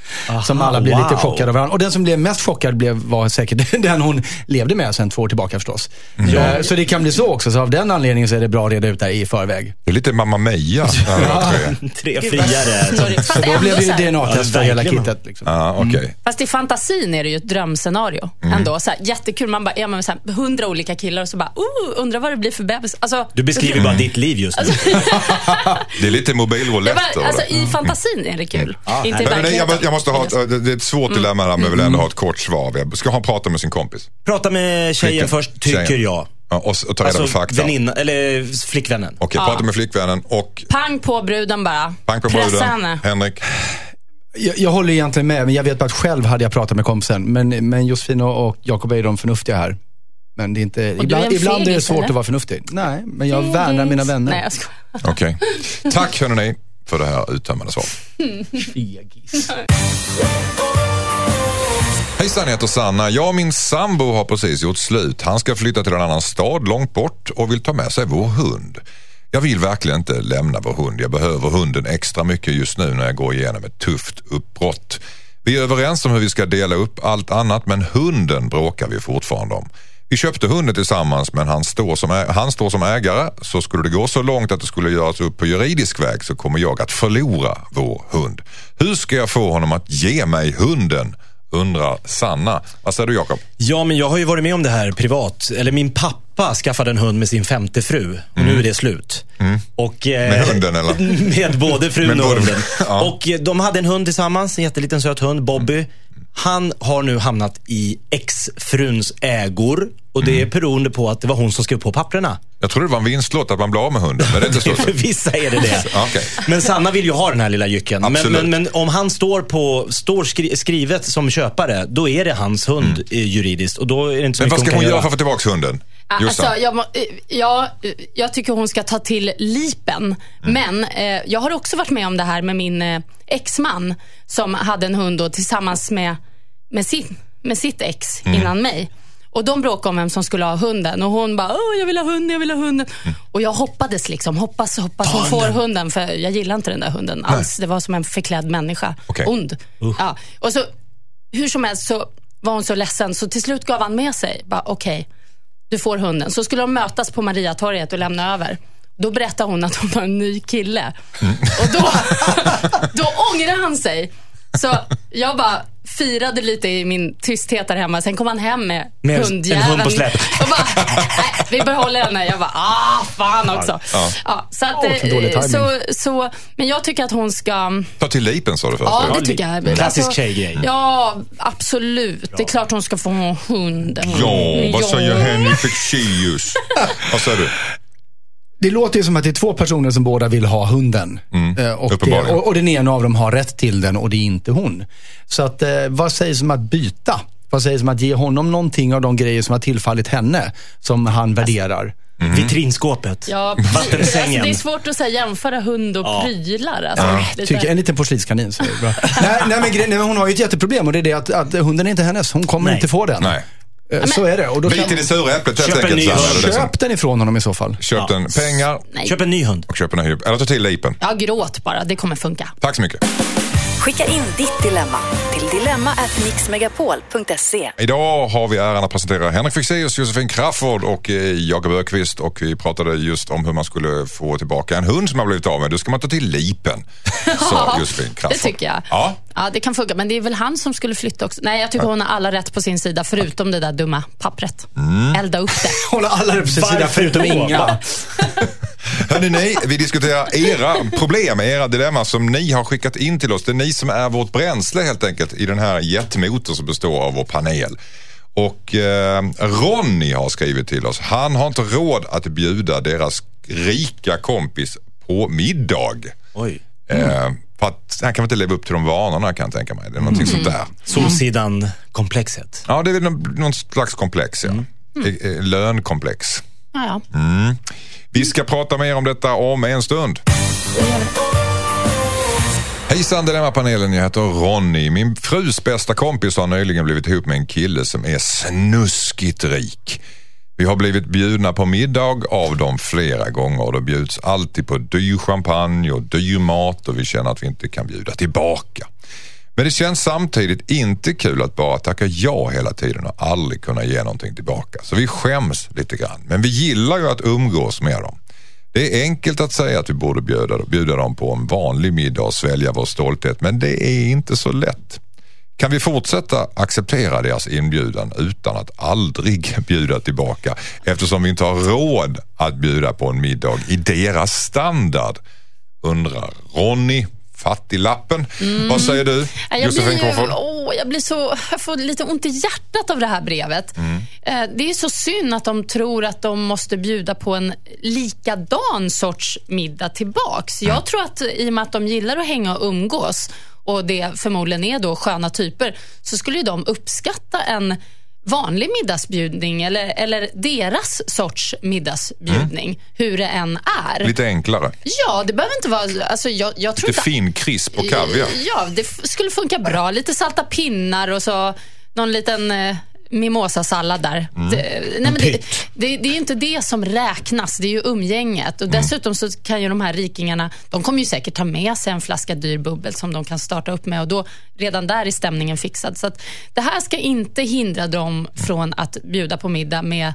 Speaker 3: som
Speaker 5: Aha,
Speaker 3: alla blev lite
Speaker 5: wow.
Speaker 3: chockade av varandra. Och den som blev mest chockad blev, var säkert den hon levde med sen två år tillbaka förstås. Eh, Så det kan bli så också. Så av den anledningen så är det bra att reda ut det här i förväg.
Speaker 2: Det är lite Mamma Mia. Ja, tre.
Speaker 5: Tre
Speaker 4: Gud, vad
Speaker 5: friare.
Speaker 4: snurrigt. Fast
Speaker 3: Så då
Speaker 4: ändå
Speaker 3: blev det
Speaker 4: så här-
Speaker 3: ju DNA-test för hela
Speaker 5: verkligen.
Speaker 3: kittet. Liksom.
Speaker 2: Ja, okej.
Speaker 4: Fast i fantasin är det ju ett drömscenario.
Speaker 2: Mm.
Speaker 4: Ändå. Så här, jättekul. Man bara är man med så här, hundra olika killar och så bara, oh, undrar vad det blir för bebis. Alltså,
Speaker 5: Du beskriver bara
Speaker 2: Mm.
Speaker 5: ditt liv just nu.
Speaker 2: Det är lite
Speaker 4: det
Speaker 2: mobilroulette.
Speaker 4: var,
Speaker 2: över
Speaker 4: alltså,
Speaker 2: det. Mm.
Speaker 4: I fantasin är det kul. Inte i
Speaker 2: Men, men, jag,
Speaker 4: verkligheten.
Speaker 2: jag måste ha, ett- det det är ett svårt
Speaker 4: Mm.
Speaker 2: dilemma där, men jag vill ändå ha ett kort svar. Ska han prata med sin kompis?
Speaker 5: Prata med tjejen
Speaker 2: Flickan.
Speaker 5: först, tycker
Speaker 2: Tjejen.
Speaker 5: jag.
Speaker 2: Ja, och, s- och ta reda på
Speaker 5: Alltså
Speaker 2: fakta. Okej,
Speaker 5: väninna, eller flickvännen.
Speaker 2: prata med flickvännen och
Speaker 4: Pang på bruden bara.
Speaker 2: pang på
Speaker 4: Pressa
Speaker 2: bruden.
Speaker 4: henne.
Speaker 2: Henrik.
Speaker 3: Jag, jag håller egentligen med, men jag vet bara att själv hade jag pratat med kompisen. Men, men Josefin och och Jakob är ju de förnuftiga här. Men det är inte,
Speaker 4: du är
Speaker 3: ibland,
Speaker 4: en
Speaker 3: ibland är det
Speaker 4: fegis,
Speaker 3: svårt
Speaker 4: eller?
Speaker 3: att vara förnuftig. Nej, men jag värnar Eh, mina vänner.
Speaker 4: Nej, jag skojar.
Speaker 2: Okej. Tack hörni för det här uttömmande svaret.
Speaker 3: Fegis.
Speaker 2: Hejsan, jag heter Sanna. Jag och min sambo har precis gjort slut. Han ska flytta till en annan stad långt bort och vill ta med sig vår hund. Jag vill verkligen inte lämna vår hund. Jag behöver hunden extra mycket just nu när jag går igenom ett tufft uppbrott. Vi är överens om hur vi ska dela upp allt annat men hunden bråkar vi fortfarande om. Vi köpte hunden tillsammans men han står, som ä- han står som ägare så skulle det gå så långt att det skulle göras upp på juridisk väg så kommer jag att förlora vår hund. Hur ska jag få honom att ge mig hunden? Undrar Sanna. Vad säger du Jakob?
Speaker 5: Ja, men jag har ju varit med om det här privat. Eller min pappa skaffade en hund med sin femte fru. Och nu är det slut. Och, eh,
Speaker 2: Mm. Med hunden, eller?
Speaker 5: Med både frun
Speaker 2: Med
Speaker 5: och
Speaker 2: både-
Speaker 5: hunden.
Speaker 2: Ja.
Speaker 5: Och eh, de hade en hund tillsammans, en jätteliten söt hund, Bobby. Han har nu hamnat i ex-fruns ägor. Och
Speaker 2: Mm.
Speaker 5: det är beroende på att det var hon som skrev på papprena.
Speaker 2: Jag trodde det var en vinstlott att man blir av med hunden, men det är inte så.
Speaker 5: För vissa är det det.
Speaker 2: Ja, okej.
Speaker 5: Men Sanna vill ju ha den här lilla jycken. Men,
Speaker 2: Absolut.
Speaker 5: men, men om han står, på, står skri, skrivet som köpare, då är det hans hund eh, juridiskt. Och då är det inte så
Speaker 2: Mm. Men
Speaker 5: mycket
Speaker 2: vad ska
Speaker 5: kan
Speaker 2: hon göra
Speaker 5: göra
Speaker 2: för att få tillbaka hunden? Jossan?
Speaker 4: Alltså, jag, må- eh, jag, eh, jag tycker hon ska ta till lipen.
Speaker 2: Mm.
Speaker 4: Men eh, jag har också varit med om det här med min eh, exman som hade en hund då, tillsammans med, med, sin, med sitt ex
Speaker 2: Mm.
Speaker 4: innan mig. Och De bråkade om vem som skulle ha hunden och hon bara, Åh, jag vill ha hunden, jag vill ha hunden.
Speaker 2: Mm.
Speaker 4: Och jag hoppades liksom, hoppas, hoppas hon får hunden. För jag gillar inte den där hunden alls. Det var som en förklädd människa.
Speaker 2: Okej.
Speaker 4: Ond. Ja. Och så, hur som helst så var hon så ledsen, så till slut gav han med sig. Bara, Okej, du får hunden. Så skulle de mötas på Mariatorget och lämna över. Då berättade hon att hon var en ny kille. Och då, då ångrade han sig. Så jag bara firade lite i min tysthet där hemma. Sen kom han hem med,
Speaker 5: Med en
Speaker 4: hundjäveln.
Speaker 5: hund på släp.
Speaker 4: Och bara, nej, vi behåller henne. Jag bara, ah, fan också.
Speaker 2: Ja.
Speaker 4: Ja. så att,
Speaker 3: Åh, vilken dålig
Speaker 4: eh, så,
Speaker 3: timing.
Speaker 4: så, men jag tycker att hon ska... mm,
Speaker 2: Ta till lipen sa du först.
Speaker 4: Ja,
Speaker 2: eller?
Speaker 4: det tycker jag. Alltså,
Speaker 5: Klassisk tjejgrej.
Speaker 4: Ja, absolut. Det är klart hon ska få en hund.
Speaker 2: Ja, vad säger Henry Fexeus? Vad säger du?
Speaker 3: Det låter ju som att det är två personer som båda vill ha hunden. Eh, och, det,
Speaker 2: uppenbarligen.
Speaker 3: och, och den ena av dem har rätt till den och det är inte hon. Så att, eh, vad sägs om att byta? Vad sägs om att ge honom någonting av de grejer som har tillfallit henne, som han värderar?
Speaker 5: Mm. Vitrinskåpet.
Speaker 4: Ja,
Speaker 5: Vattensängen.
Speaker 4: Alltså, det är svårt att säga, jämföra hund och prylar. Alltså, lite.
Speaker 3: Tycker, en liten porslinskanin. så är det bra. nej, nej, men, gre- nej, men hon har ju ett jätteproblem och det är det att, att hunden är inte hennes. Hon kommer
Speaker 5: Nej.
Speaker 3: inte få den.
Speaker 2: Nej.
Speaker 3: Eh, Så är det. Och då
Speaker 2: Bit i det sura äpplet helt
Speaker 5: Köp en
Speaker 2: enkelt.
Speaker 5: ny
Speaker 2: så här,
Speaker 5: hund.
Speaker 2: eller liksom.
Speaker 3: köp den ifrån honom i så fall.
Speaker 2: Köp den. Pengar
Speaker 4: Nej.
Speaker 5: Köp en ny hund.
Speaker 2: och köp en ny. Eller ta till lipen.
Speaker 4: Ja, gråt bara. Det kommer funka.
Speaker 2: Tack så mycket.
Speaker 1: Skicka in ditt dilemma till dilemma@mixmegapol.se.
Speaker 2: Idag har vi äran att presentera Henrik Fexeus, Josefin Crafoord och eh, Jakob Ökvist och vi pratade just om hur man skulle få tillbaka en hund som har blivit av med. Då ska man ta till lipen, sa Josefin
Speaker 4: Det
Speaker 2: Crafoord.
Speaker 4: tycker jag.
Speaker 2: Ja.
Speaker 4: Ja, det kan funka. Men det är väl han som skulle flytta också. Nej, jag tycker hon har alla rätt på sin sida, förutom det där dumma pappret.
Speaker 2: Mm.
Speaker 4: Elda upp det.
Speaker 3: Hålla alla på sin
Speaker 5: sida förutom Inga.
Speaker 2: Hörrni, ni, vi diskuterar era problem, era dilemma som ni har skickat in till oss. Det är ni som är vårt bränsle helt enkelt i den här jetmotor som består av vår panel. Och eh, Ronny har skrivit till oss. Han har inte råd att bjuda deras rika kompis på middag.
Speaker 5: Oj.
Speaker 2: Eh, för att han kan väl inte leva upp till de vanorna kan jag tänka mig. Det är någonting sånt där.
Speaker 5: Solsidan-komplexet.
Speaker 2: Ja, det är väl någon, någon slags komplex. Ja. Eh, eh, Lönkomplex.
Speaker 4: Ja, ja.
Speaker 2: Vi ska prata mer om detta om en stund. Hejsan Dilemmapanelen, jag heter Ronny. Min frus bästa kompis har nyligen blivit ihop med en kille som är snuskigt rik. Vi har blivit bjudna på middag av dem flera gånger och det bjuds alltid på dyr champagne och dyr mat och vi känner att vi inte kan bjuda tillbaka. Men det känns samtidigt inte kul att bara tacka ja hela tiden och aldrig kunna ge någonting tillbaka. Så vi skäms lite grann. Men vi gillar ju att umgås med dem. Det är enkelt att säga att vi borde bjuda, bjuda dem på en vanlig middag och svälja vår stolthet, men det är inte så lätt. Kan vi fortsätta acceptera deras inbjudan utan att aldrig bjuda tillbaka eftersom vi inte har råd att bjuda på en middag i deras standard? Undrar Ronny, fattiglappen. Vad säger du?
Speaker 4: Mm. Jag blir,
Speaker 2: Josefin
Speaker 4: ju,
Speaker 2: Crawford?
Speaker 4: åh, jag blir så, jag får lite ont i hjärtat av det här brevet.
Speaker 2: Mm.
Speaker 4: Eh, Det är så synd att de tror att de måste bjuda på en likadan sorts middag tillbaks.
Speaker 2: Mm.
Speaker 4: Jag tror att i och med att de gillar att hänga och umgås och det förmodligen är då sköna typer, så skulle ju de uppskatta en vanlig middagsbjudning eller, eller deras sorts middagsbjudning, hur det än är.
Speaker 2: Mm. Lite enklare.
Speaker 4: Ja, det behöver inte vara... Alltså, jag, jag tror
Speaker 2: Lite
Speaker 4: inte
Speaker 2: fin krisp och kaviar.
Speaker 4: Ja, det f- skulle funka bra. Lite salta pinnar och så någon liten eh, mimosasallad där.
Speaker 2: Mm.
Speaker 4: Det, nej, men det,
Speaker 5: pytt.
Speaker 4: det, det är ju inte det som räknas, det är ju umgänget.
Speaker 2: Mm.
Speaker 4: Och dessutom så kan ju de här rikingarna, de kommer ju säkert ta med sig en flaska dyr bubbel som de kan starta upp med och då redan där är stämningen fixad. Så att, det här ska inte hindra dem från att bjuda på middag med,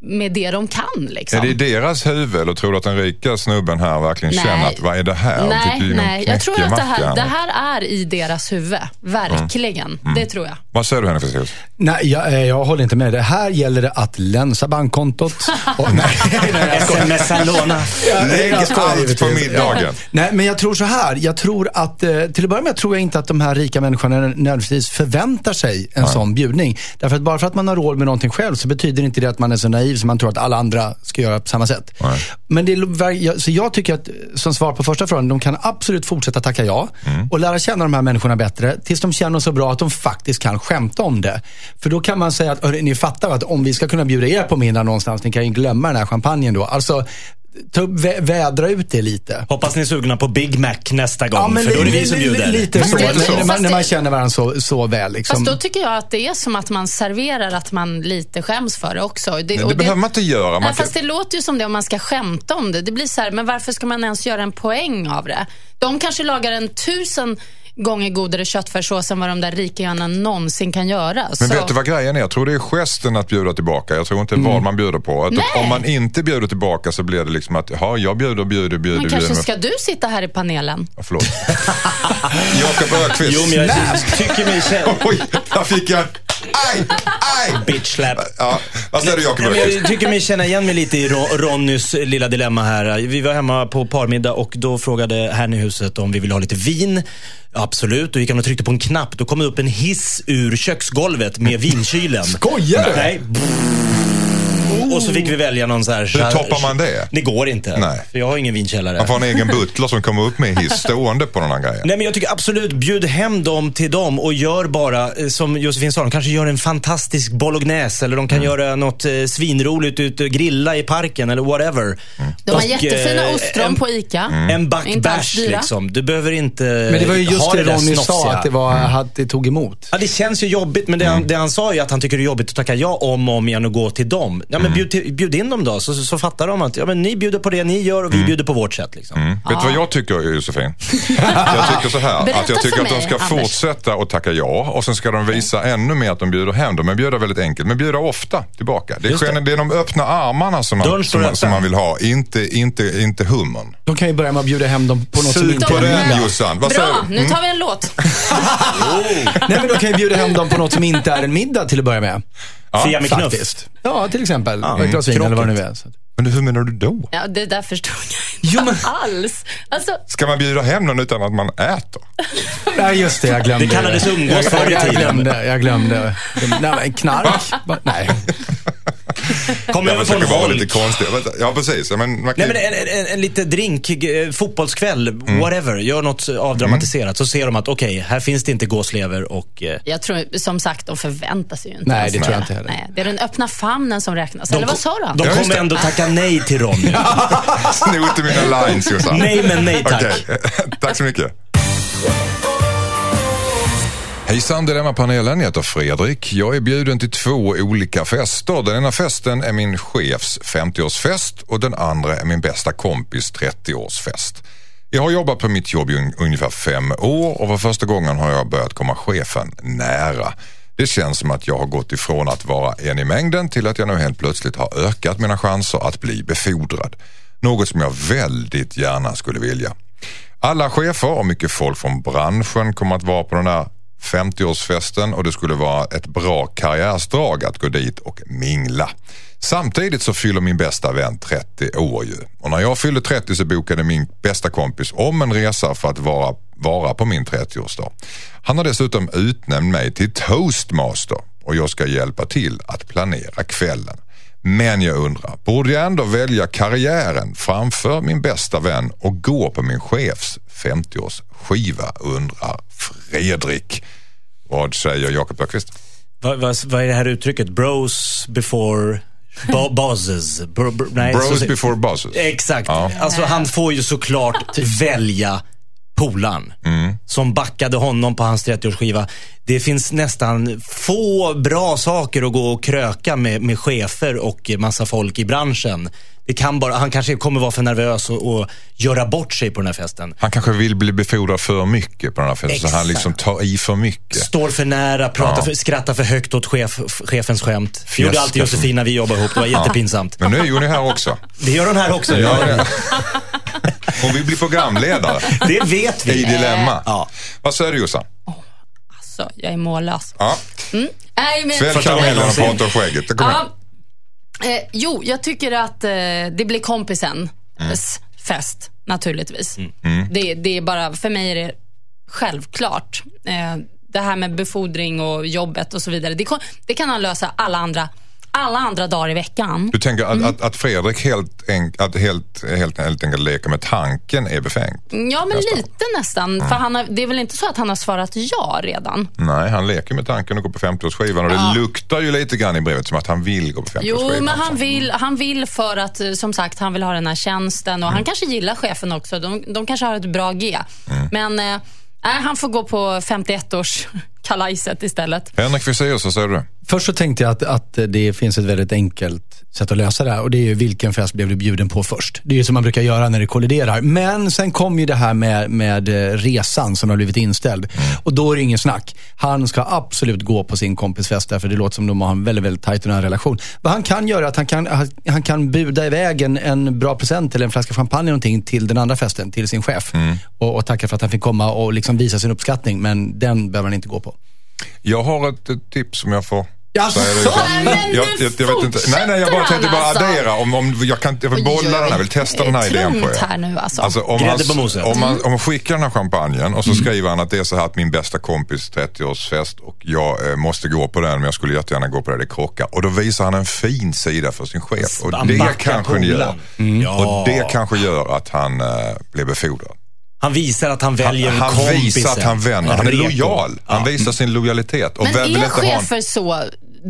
Speaker 4: med det de kan. Liksom.
Speaker 2: Är det i deras huvud eller tror du att den rika snubben här verkligen
Speaker 4: Nej.
Speaker 2: känner att vad är det här? Och fick
Speaker 4: Nej,
Speaker 2: i någon
Speaker 4: nej. jag tror att det
Speaker 2: knäckemacka,
Speaker 4: här, det
Speaker 2: eller? Mm.
Speaker 4: här är i deras huvud. Verkligen. Det tror jag.
Speaker 2: Vad säger du Henrik Fexeus?
Speaker 3: Nej, jag, eh, jag håller inte med dig. Här gäller det att länsa bankkontot. Och, nej, nej, nej, alltså. jag skojar.
Speaker 5: Smsa låna.
Speaker 2: Lägg
Speaker 3: Jag skojar
Speaker 2: allt på
Speaker 3: givetvis.
Speaker 2: middagen.
Speaker 3: Nej, men jag tror så här. Jag tror att, eh, till att börja med tror jag inte att de här rika människorna nödvändigtvis förväntar sig en sån bjudning. Därför att bara för att man har råd med någonting själv så betyder inte det att man är så naiv som man tror att alla andra ska göra på samma sätt.
Speaker 2: Nej.
Speaker 3: Men det, är lo- ver- jag- så jag tycker att, som svar på första frågan, de kan absolut fortsätta tacka ja och lära känna de här människorna bättre tills de känner så bra att de faktiskt kan skämta om det. För då kan man säga att, "Hörni, ni fattar att om vi ska kunna bjuda er på middag någonstans, ni kan ju glömma den här champagnen då. Alltså, ta upp, vä- vädra ut det lite.
Speaker 5: Hoppas ni är sugna på Big Mac nästa gång, för
Speaker 3: li-
Speaker 5: då är det vi som
Speaker 3: li- li-
Speaker 5: bjuder.
Speaker 3: Lite
Speaker 2: Fast
Speaker 3: så.
Speaker 2: det- fast
Speaker 3: När man, när man
Speaker 4: det-
Speaker 3: känner varandra så, så väl.
Speaker 4: Fast
Speaker 3: Liksom.
Speaker 4: då tycker jag att det är som att man serverar att man lite skäms för det också. Det,
Speaker 2: Det,
Speaker 4: och
Speaker 2: behöver man inte göra. Man
Speaker 4: Nej,
Speaker 2: kan-
Speaker 4: fast det låter ju som det om man ska skämta om det. Det blir så här, men varför ska man ens göra en poäng av det? De kanske lagar en tusen gånger godare köttfärssås än vad de där rika gärna någonsin kan göra.
Speaker 2: Men
Speaker 4: så.
Speaker 2: vet du vad grejen är? Jag tror det är gesten att bjuda tillbaka. Jag tror inte
Speaker 5: Mm.
Speaker 2: vad man bjuder på. Att
Speaker 4: Nej.
Speaker 2: om man inte bjuder tillbaka så blir det liksom att, ja, jag bjuder, bjuder, bjuder.
Speaker 4: Men
Speaker 2: bjuder.
Speaker 4: kanske
Speaker 2: men-
Speaker 4: ska du sitta här i panelen?
Speaker 2: Ja, Förlåt. Jakob Öqvist.
Speaker 5: Jo, men jag tycker mig själv.
Speaker 2: Oj, där fick jag. Aj, aj.
Speaker 5: Bitch slap.
Speaker 2: Ja, vad säger du Jakob
Speaker 5: Nej, men
Speaker 2: Öqvist?
Speaker 5: jag tycker mig känna igen mig lite i Ro- Ronnys lilla dilemma här. Vi var hemma på parmiddag och då frågade herrn i huset om vi ville ha lite vin. Absolut, då gick han och tryckte på en knapp. Då kom det upp en hiss ur köksgolvet med vinkylen.
Speaker 3: Skojar du?
Speaker 5: Nej. Och så fick vi välja någon så här...
Speaker 2: Hur toppar man det?
Speaker 5: Det går inte.
Speaker 2: Nej.
Speaker 5: För jag har ingen vinkällare.
Speaker 2: Man får en egen butler som kommer upp med hiss stående på den här grejen.
Speaker 5: Nej men jag tycker absolut, bjud hem dem till dem och gör bara eh, som Josefin sa, de kanske gör en fantastisk bolognese eller de kan
Speaker 3: Mm.
Speaker 5: göra något eh, svinroligt ute, grilla i parken eller whatever.
Speaker 4: De har
Speaker 5: Och,
Speaker 4: jättefina
Speaker 5: eh,
Speaker 4: ostron
Speaker 5: en,
Speaker 4: på ICA.
Speaker 2: Mm.
Speaker 5: En
Speaker 4: Inte alls
Speaker 5: backbash
Speaker 4: dyra.
Speaker 5: liksom. Du behöver inte
Speaker 3: Men det var ju just
Speaker 5: ha
Speaker 3: det
Speaker 5: Eh, där
Speaker 3: Ronny sa,
Speaker 5: snofsiga.
Speaker 3: att det, var, Mm. att det tog emot.
Speaker 5: Ja, det känns ju jobbigt, men det, han, det han sa är ju att han tycker det är jobbigt att tacka ja om och om igen och gå till dem. Ja, men
Speaker 3: Mm.
Speaker 5: bjud, till, bjud in dem då, så, så, så fattar de att ja, men ni bjuder på det ni gör och vi bjuder på vårt sätt. Liksom.
Speaker 2: Mm. Vet du vad jag tycker Josefin? Jag tycker så här,
Speaker 4: Berätta
Speaker 2: att jag tycker
Speaker 4: för
Speaker 2: att de
Speaker 4: mig,
Speaker 2: ska
Speaker 4: Anders.
Speaker 2: fortsätta att tacka ja och sen ska de visa ännu mer att de bjuder hem dem. Men bjuda väldigt enkelt, men bjuda ofta tillbaka. Det är,
Speaker 5: Just det.
Speaker 2: gen- det är de öppna armarna som
Speaker 5: Dörren
Speaker 2: man,
Speaker 5: står
Speaker 2: som,
Speaker 5: öppen.
Speaker 2: som man vill ha, inte, inte, inte hummern.
Speaker 3: De kan ju börja med att bjuda hem dem på något som
Speaker 2: Sug
Speaker 3: inte
Speaker 2: på
Speaker 3: är
Speaker 2: den,
Speaker 3: middag.
Speaker 2: Jossan. Vad säger
Speaker 4: Bra,
Speaker 2: du? Mm.
Speaker 4: nu tar vi en låt.
Speaker 3: Nej, men de kan ju bjuda hem dem på något som inte är en middag till att börja med.
Speaker 5: Fia med knuff.
Speaker 3: Faktiskt. Ja, till exempel. Ja, ett glas vin
Speaker 5: krocket.
Speaker 3: eller vad det nu är. Så att-
Speaker 2: Men hur menar du då?
Speaker 4: Ja, det där förstår jag
Speaker 3: Jo,
Speaker 4: inte
Speaker 3: men-
Speaker 4: alls. Alltså,
Speaker 2: Ska man bjuda hem någon utan att man äter?
Speaker 3: Nej, just det. Jag glömde
Speaker 5: Det kallades umgås
Speaker 3: Jag-
Speaker 5: förr i
Speaker 3: Jag
Speaker 5: tiden.
Speaker 3: glömde. Jag glömde. Nej, men knark? Va? Nej.
Speaker 5: Kom
Speaker 2: Jag
Speaker 5: över på en
Speaker 2: försöker vara
Speaker 5: holk.
Speaker 2: lite konstig. Vänta, Ja, precis. Ja, Men man kan...
Speaker 5: Nej men en, en, en, en lite drink, eh, fotbollskväll,
Speaker 2: Mm.
Speaker 5: whatever. Gör något avdramatiserat. Så ser de att okej, här finns det inte gåslever och... Eh,
Speaker 4: jag tror som sagt, de förväntar sig ju inte.
Speaker 3: Nej,
Speaker 4: ens
Speaker 3: det tror jag inte heller.
Speaker 4: Nej, det är den öppna famnen som räknas. Eller vad sa du?
Speaker 5: De
Speaker 4: Anders?
Speaker 2: Ja, just
Speaker 5: kommer
Speaker 2: det.
Speaker 5: ändå tacka nej till Ronny.
Speaker 2: Sno inte mina lines Jossan.
Speaker 5: Nej, men nej, tack.
Speaker 2: Okej. tack så mycket. Hejsan Dilemmapanelen, jag heter Fredrik. Jag är bjuden till två olika fester. Den ena festen är min chefs 50-årsfest och den andra är min bästa kompis 30-årsfest. Jag har jobbat på mitt jobb i un- ungefär fem år och för första gången har jag börjat komma chefen nära. Det känns som att jag har gått ifrån att vara en i mängden till att jag nu helt plötsligt har ökat mina chanser att bli befordrad. Något som jag väldigt gärna skulle vilja. Alla chefer och mycket folk från branschen kommer att vara på den här 50-årsfesten och det skulle vara ett bra karriärsdrag att gå dit och mingla. Samtidigt så fyller min bästa vän 30 år ju. Och när jag fyllde 30 så bokade min bästa kompis om en resa för att vara, vara på min 30-årsdag. Han har dessutom utnämnt mig till toastmaster och jag ska hjälpa till att planera kvällen. Men jag undrar, borde jag ändå välja karriären framför min bästa vän och gå på min chefs 50-årsskiva undrar Fredrik. Vad säger Jakob Öqvist?
Speaker 5: Vad vad- vad är det här uttrycket? Bros before bo- bosses. Bro, bro, nej,
Speaker 2: Bros
Speaker 5: så-
Speaker 2: before bosses.
Speaker 5: Exakt.
Speaker 2: Ja. Typ.
Speaker 5: Alltså han får ju såklart välja polaren
Speaker 2: Mm.
Speaker 5: som backade honom på hans 30-årsskiva. Det finns nästan få bra saker att gå och kröka med, med chefer och massa folk i branschen. Det kan bara, han kanske kommer vara för nervös och, och göra bort sig på den här festen.
Speaker 2: Han kanske vill bli befordrad för mycket på den här festen, så han
Speaker 5: Exakt.
Speaker 2: liksom tar i för mycket.
Speaker 5: Står för nära, pratar för, skrattar för högt åt chef, chefens skämt. Gjorde alltid Josefin när vi jobbade ihop, det var jättepinsamt.
Speaker 2: Men nu är ju hon här också.
Speaker 5: Det gör hon här också.
Speaker 2: Ja, ja. Hon vill bli programledare
Speaker 5: Det vet
Speaker 2: i
Speaker 5: vi.
Speaker 2: Dilemma.
Speaker 5: Ja.
Speaker 2: Vad säger du Jossan?
Speaker 4: Alltså, jag är mållös.
Speaker 2: Ja.
Speaker 4: Nej, men...
Speaker 2: Svälj
Speaker 5: Första gången
Speaker 2: karamellen och
Speaker 5: någonsin.
Speaker 2: prata om skägget. Det kommer
Speaker 4: Ja. Eh, jo, jag tycker att eh, det blir kompisen s- fest naturligtvis. Det, det är bara, för mig är det självklart. Eh, det här med befordring och jobbet och så vidare. Det, kon- det kan han lösa alla andra, alla andra dagar i veckan.
Speaker 2: Du tänker att, att, att Fredrik helt, enk, att helt, helt, helt enkelt leker med tanken är befängt?
Speaker 4: Ja, men
Speaker 2: Nästan.
Speaker 4: lite nästan. För han har, det är väl inte så att han har svarat ja redan?
Speaker 2: Nej, han leker med tanken och går på 50-årsskivan och det luktar ju lite grann i brevet som att han vill gå på 50-årsskivan.
Speaker 4: Jo, men han
Speaker 2: också.
Speaker 4: vill, han vill för att eh, som sagt han vill ha den här tjänsten
Speaker 2: Mm.
Speaker 4: och han kanske gillar chefen också. De, de kanske har ett bra G.
Speaker 2: Mm.
Speaker 4: Men eh, nej, han får gå på 51-årskalajset istället.
Speaker 2: Henrik Fexeus, vad säger du?
Speaker 3: Först så tänkte jag att, att det finns ett väldigt enkelt sätt att lösa det här och det är ju vilken fest blev du bjuden på först? Det är ju som man brukar göra när det kolliderar. Men sen kom ju det här med, med eh, resan som har blivit inställd och då är det ingen snack. Han ska absolut gå på sin kompis fest därför det låter som de har en väldigt, väldigt tajt och nära relation. Vad han kan göra är att han kan, han- han kan buda iväg en, en bra present eller en flaska champagne eller någonting till den andra festen, till sin chef och, och tacka för att han fick komma och liksom visa sin uppskattning. Men den behöver han inte gå på.
Speaker 2: Jag har ett, ett tips som jag får
Speaker 3: Ja,
Speaker 2: säga dig,
Speaker 3: så-
Speaker 2: Jossan.
Speaker 4: Nej, men
Speaker 2: jag,
Speaker 4: nu
Speaker 2: jag, jag vet inte. Nej, nej, jag bara
Speaker 4: fortsätter
Speaker 2: tänkte bara
Speaker 4: han alltså.
Speaker 2: addera. Om, om jag, kan, jag vill bolla
Speaker 4: Oj, oj.
Speaker 2: den här, vill testa
Speaker 4: Det är
Speaker 2: den här idén på
Speaker 4: trångt
Speaker 2: er.
Speaker 4: här nu, alltså.
Speaker 2: om,
Speaker 5: Grädde
Speaker 2: han,
Speaker 5: på moset. Mm.
Speaker 2: om, man, om man skickar den här champagnen och så skriver han att det är så här att min bästa kompis 30-årsfest och jag eh, måste gå på den men jag skulle jättegärna gå på det, det krockar. Och då visar han en fin sida för sin chef och
Speaker 5: Han
Speaker 2: det
Speaker 5: backar
Speaker 2: kanske ni gör.
Speaker 5: polaren. Mm. Ja.
Speaker 2: Och det kanske gör att han eh, blir befordrad.
Speaker 5: Han visar att han väljer
Speaker 2: Han
Speaker 5: kompisen.
Speaker 2: visar att han vänner. Han är
Speaker 5: reko.
Speaker 2: lojal. Han visar sin lojalitet. Och
Speaker 4: Men
Speaker 2: vem vill
Speaker 4: är
Speaker 2: inte ha en-
Speaker 4: chefer så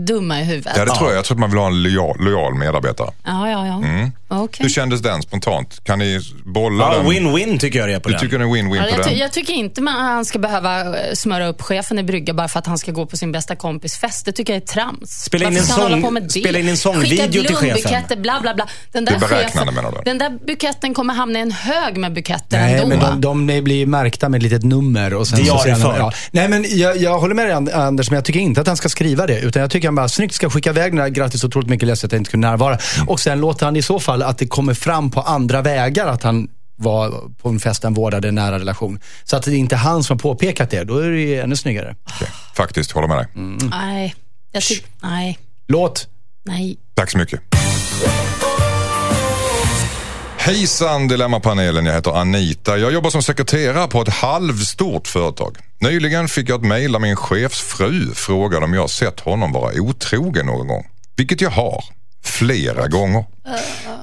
Speaker 4: dumma i huvudet?
Speaker 2: Ja, det tror jag. Jag tror att man vill ha en lojal, lojal medarbetare.
Speaker 4: ja, ja. ja. Okej.
Speaker 2: Mm. Hur kändes den spontant? Kan ni bolla
Speaker 5: Ja,
Speaker 2: den?
Speaker 5: win-win tycker jag det är på
Speaker 2: Du
Speaker 5: den.
Speaker 2: tycker det är win-win på
Speaker 4: Ja, Alltså, jag,
Speaker 2: den?
Speaker 4: ty- jag tycker inte man, han ska behöva eh, smöra upp chefen i brygga bara för att han ska gå på sin bästa kompis fest. Det tycker jag är trams.
Speaker 5: Spela in
Speaker 4: Varför
Speaker 5: en
Speaker 4: ska han
Speaker 5: sång-
Speaker 4: hålla på med det?
Speaker 5: spela in en sångvideo
Speaker 4: Skicka
Speaker 5: till chefen.
Speaker 4: blombuketter, bla bla bla. Den
Speaker 2: Det
Speaker 4: där,
Speaker 2: är beräknande,
Speaker 4: chefen,
Speaker 2: menar du?
Speaker 4: den där buketten kommer hamna i en hög med buketter
Speaker 3: Nej,
Speaker 4: ändå.
Speaker 3: men de, de blir ju märkta med ett litet nummer. Och sen så
Speaker 5: Diariefört.
Speaker 3: säger han- Nej, men jag, jag håller med dig And- Anders, men jag tycker inte att han ska skriva det. Utan jag tycker han bara snyggt ska skicka iväg den där, grattis otroligt mycket, ledsen att jag inte kunde närvara.
Speaker 2: Mm.
Speaker 3: Och sen låter han i så fall att det kommer fram på andra vägar att han var på en fest han vårdade en nära relation. Så att det är inte han som har påpekat det, då är det ju ännu snyggare.
Speaker 2: Okej, Faktiskt, håller med dig.
Speaker 4: Nej, jag tyck- nej,
Speaker 3: Låt
Speaker 4: nej.
Speaker 2: Tack så mycket. Hejsan Dilemmapanelen, jag heter Anita. Jag jobbar som sekreterare på ett halvstort företag. Nyligen fick jag ett mejl där min chefs fru frågade om jag sett honom vara otrogen någon gång. Vilket jag har, flera gånger.